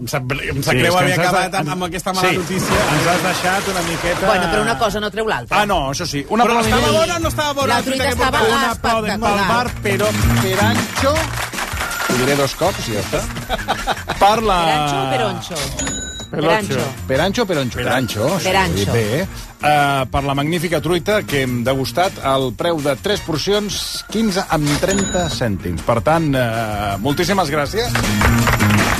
Em sap, em
Sí,
sap
és
sí, greu
que
haver
ens has
acabat
de-
amb, amb aquesta mala
Sí.
notícia.
Ens has deixat una miqueta...
Bueno, però una cosa no treu l'altra.
Ah, no, això sí. Una
Però
aplaudiment.
estava bona o no estava bona?
La truita
que
estava
portava? un aplaudi
espectacular.
pel bar, però Perancho...
Ho diré dos cops i ja està. Per la...
Perancho o Peroncho? Perancho.
Perancho, peroncho, perancho. Això ho
Perancho.
he dit Bé, eh? Uh, per la magnífica truita que hem degustat al preu de 3 porcions, 15 amb 30 cèntims. Per tant, uh, moltíssimes gràcies.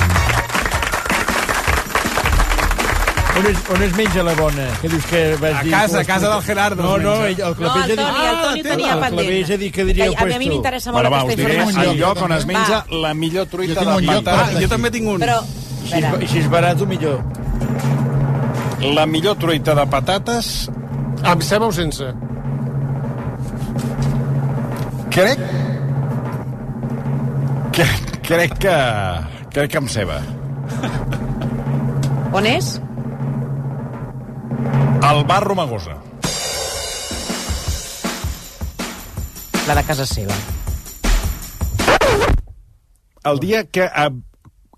On es, on es menja la bona? Que dius que vas
A
dir...
casa, a casa del Gerardo
No,
es
no,
menja.
ell, el
No, el
Clavell ha dit...
Toni, el Toni
Ah,
tenia
El Clavell
pendent.
ha dit que diria
Que a mi
puesto.
m'interessa molt
va, us
aquesta
diré
informació.
el lloc on es
Va.
menja la Ah, millor truita
tinc
de
un lloc
Pantà.
per aquí. Jo també
tinc
Però,
I si,
espera,
és- i si és barat, o millor.
La millor truita de patates...
Amb ceba o sense?
Crec... que crec que... Crec que amb ceba.
on és?
El bar Romagosa.
La de casa seva.
El dia que... A,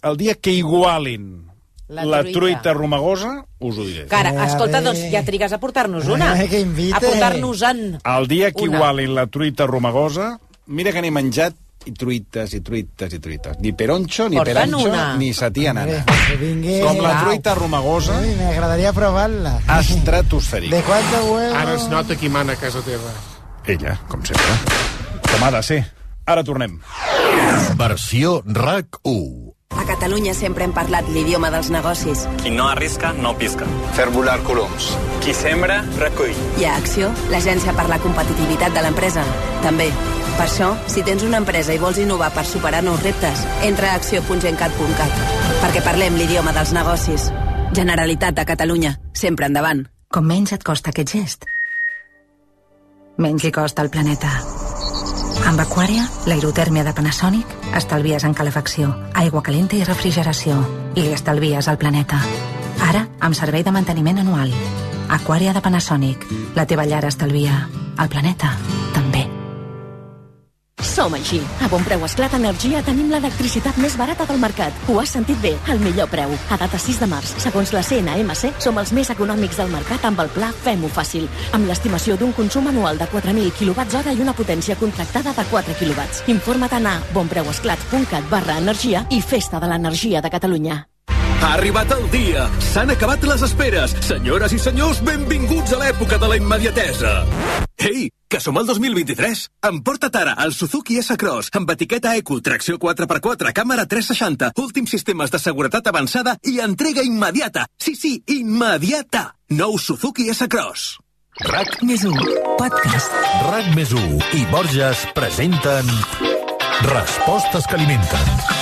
el dia que igualin la, la truita. truita romagosa, us ho diré.
Cara, escolta, doncs ja trigues a portar-nos una.
Eh, que invite.
A portar-nos-en.
El dia que
Una.
igualin la truita romagosa, mira que n'he menjat i truites, i truites, i truites. Ni peronxo, ni
Porta'n
peranxo,
una.
ni satia nana.
Que vingui...
Com la truita romagosa,
Ai, M'agradaria provar-la.
estratosfèrica.
De quant de huevo...
Ara es nota qui mana a casa teva.
Ella, com sempre. Com ha de ser. Ara tornem.
Versió RAC 1.
A Catalunya sempre hem parlat l'idioma dels negocis.
Qui no arrisca, no pisca. Fer volar coloms. Qui sembra, recull.
I a Acció, l'agència per la competitivitat de l'empresa, també. Per això, si tens una empresa i vols innovar per superar nous reptes, entra a acció.gencat.cat, perquè parlem l'idioma dels negocis. Generalitat de Catalunya, sempre endavant.
Com menys et costa aquest gest, menys li costa al planeta. Amb Aquària, l'aerotèrmia de Panasonic, estalvies en calefacció, aigua calenta i refrigeració. I li estalvies al planeta. Ara, amb servei de manteniment anual. Aquària de Panasonic. La teva llar estalvia. El planeta, també.
Som així. A bon preu Esclat Energia tenim l'electricitat més barata del mercat. Ho has sentit bé, al millor preu. A data 6 de març, segons la CNMC, som els més econòmics del mercat amb el pla Fem-ho fàcil, amb l'estimació d'un consum anual de 4.000 kWh i una potència contractada de 4 kW. Informa't a bonpreuesclat.cat barra energia i Festa de l'Energia de Catalunya.
Ha arribat el dia. S'han acabat les esperes. Senyores i senyors, benvinguts a l'època de la immediatesa. Ei, que som al 2023. Emporta't ara el Suzuki S-Cross amb etiqueta Eco, tracció 4x4, càmera 360, últims sistemes de seguretat avançada i entrega immediata. Sí, sí, immediata. Nou Suzuki S-Cross. RAC més 1. Podcast.
RAC més 1 i Borges presenten Respostes que alimenten.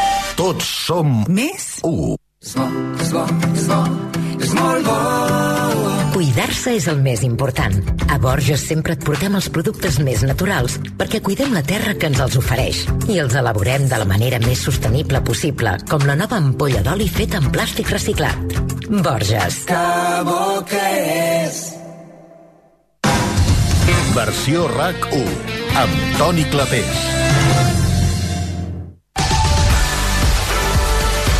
Tots som més 1.
Cuidar-se és el més important. A Borges sempre et portem els productes més naturals perquè cuidem la terra que ens els ofereix i els elaborem de la manera més sostenible possible, com la nova ampolla d'oli feta amb plàstic reciclat. Borges.
Que bo que és.
Versió RAC 1 amb Toni Clapés.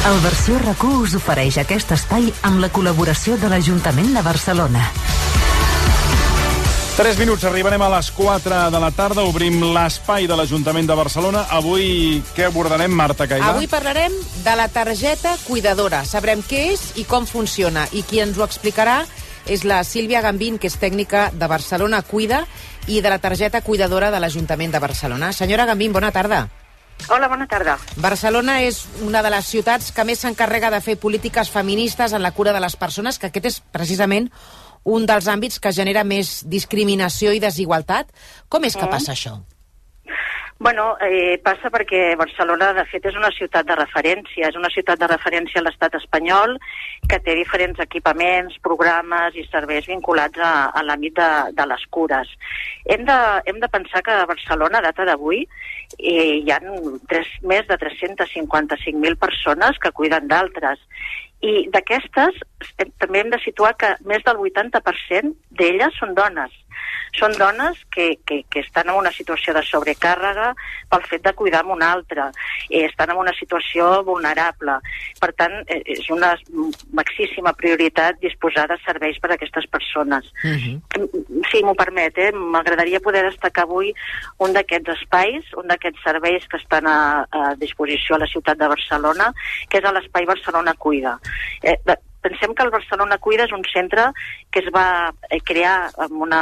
El Versió rac us ofereix aquest espai amb la col·laboració de l'Ajuntament de Barcelona.
3 minuts, arribarem a les 4 de la tarda, obrim l'espai de l'Ajuntament de Barcelona. Avui què abordarem, Marta Cairà?
Avui parlarem de la targeta cuidadora. Sabrem què és i com funciona. I qui ens ho explicarà és la Sílvia Gambín, que és tècnica de Barcelona Cuida i de la targeta cuidadora de l'Ajuntament de Barcelona. Senyora Gambín, bona tarda.
Hola, bona tarda.
Barcelona és una de les ciutats que més s'encarrega de fer polítiques feministes en la cura de les persones, que aquest és precisament un dels àmbits que genera més discriminació i desigualtat. Com és que
Mm.
passa això?
Bueno, eh, passa perquè Barcelona, de fet, és una ciutat de referència. És una ciutat de referència a l'estat espanyol que té diferents equipaments, programes i serveis vinculats a, a l'àmbit de, de les cures. Hem de, hem de pensar que a Barcelona, a data d'avui, eh, hi ha tres, més de 355.000 persones que cuiden d'altres. I d'aquestes eh, també hem de situar que més del 80% d'elles són dones. Són dones que, que, que estan en una situació de sobrecàrrega pel fet de cuidar amb una altra. Eh, estan en una situació vulnerable. Per tant, eh, és una maxíssima prioritat disposar de serveis per a aquestes persones. Si m'ho permet, eh, m'agradaria poder destacar avui un d'aquests espais, un d'aquests serveis que estan a, a disposició a la ciutat de Barcelona, que és a l'espai Barcelona Cuida. Eh, de, pensem que el Barcelona Cuida és un centre que es va eh, crear amb una,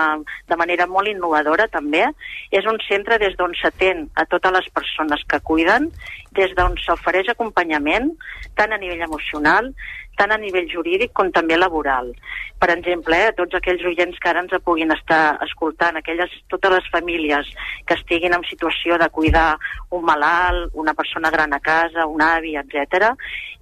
de manera molt innovadora també. És un centre des d'on s'atén a totes les persones que cuiden, des d'on s'ofereix acompanyament, tant a nivell emocional, tant a nivell jurídic com també laboral. Per exemple, eh, a tots aquells oients que ara ens puguin estar escoltant, aquelles, totes les famílies que estiguin en situació de cuidar un malalt, una persona gran a casa, un avi, etc.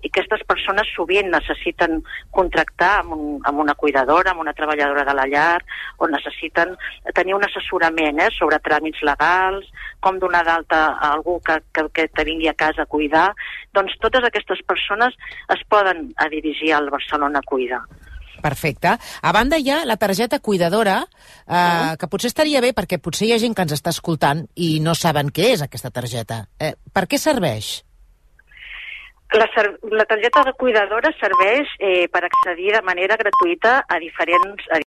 i aquestes persones sovint necessiten contractar amb, un, amb una cuidadora, amb una treballadora de la llar, o necessiten tenir un assessorament eh, sobre tràmits legals, com donar d'alta a algú que, que, que te vingui a casa a cuidar, doncs totes aquestes persones es poden a dirigir al Barcelona Cuida.
Perfecte. A banda hi ha la targeta cuidadora, eh, que potser estaria bé perquè potser hi ha gent que ens està escoltant i no saben què és aquesta targeta. Eh, per què serveix?
La, ser- la targeta de cuidadora serveix eh, per accedir de manera gratuïta a diferents, a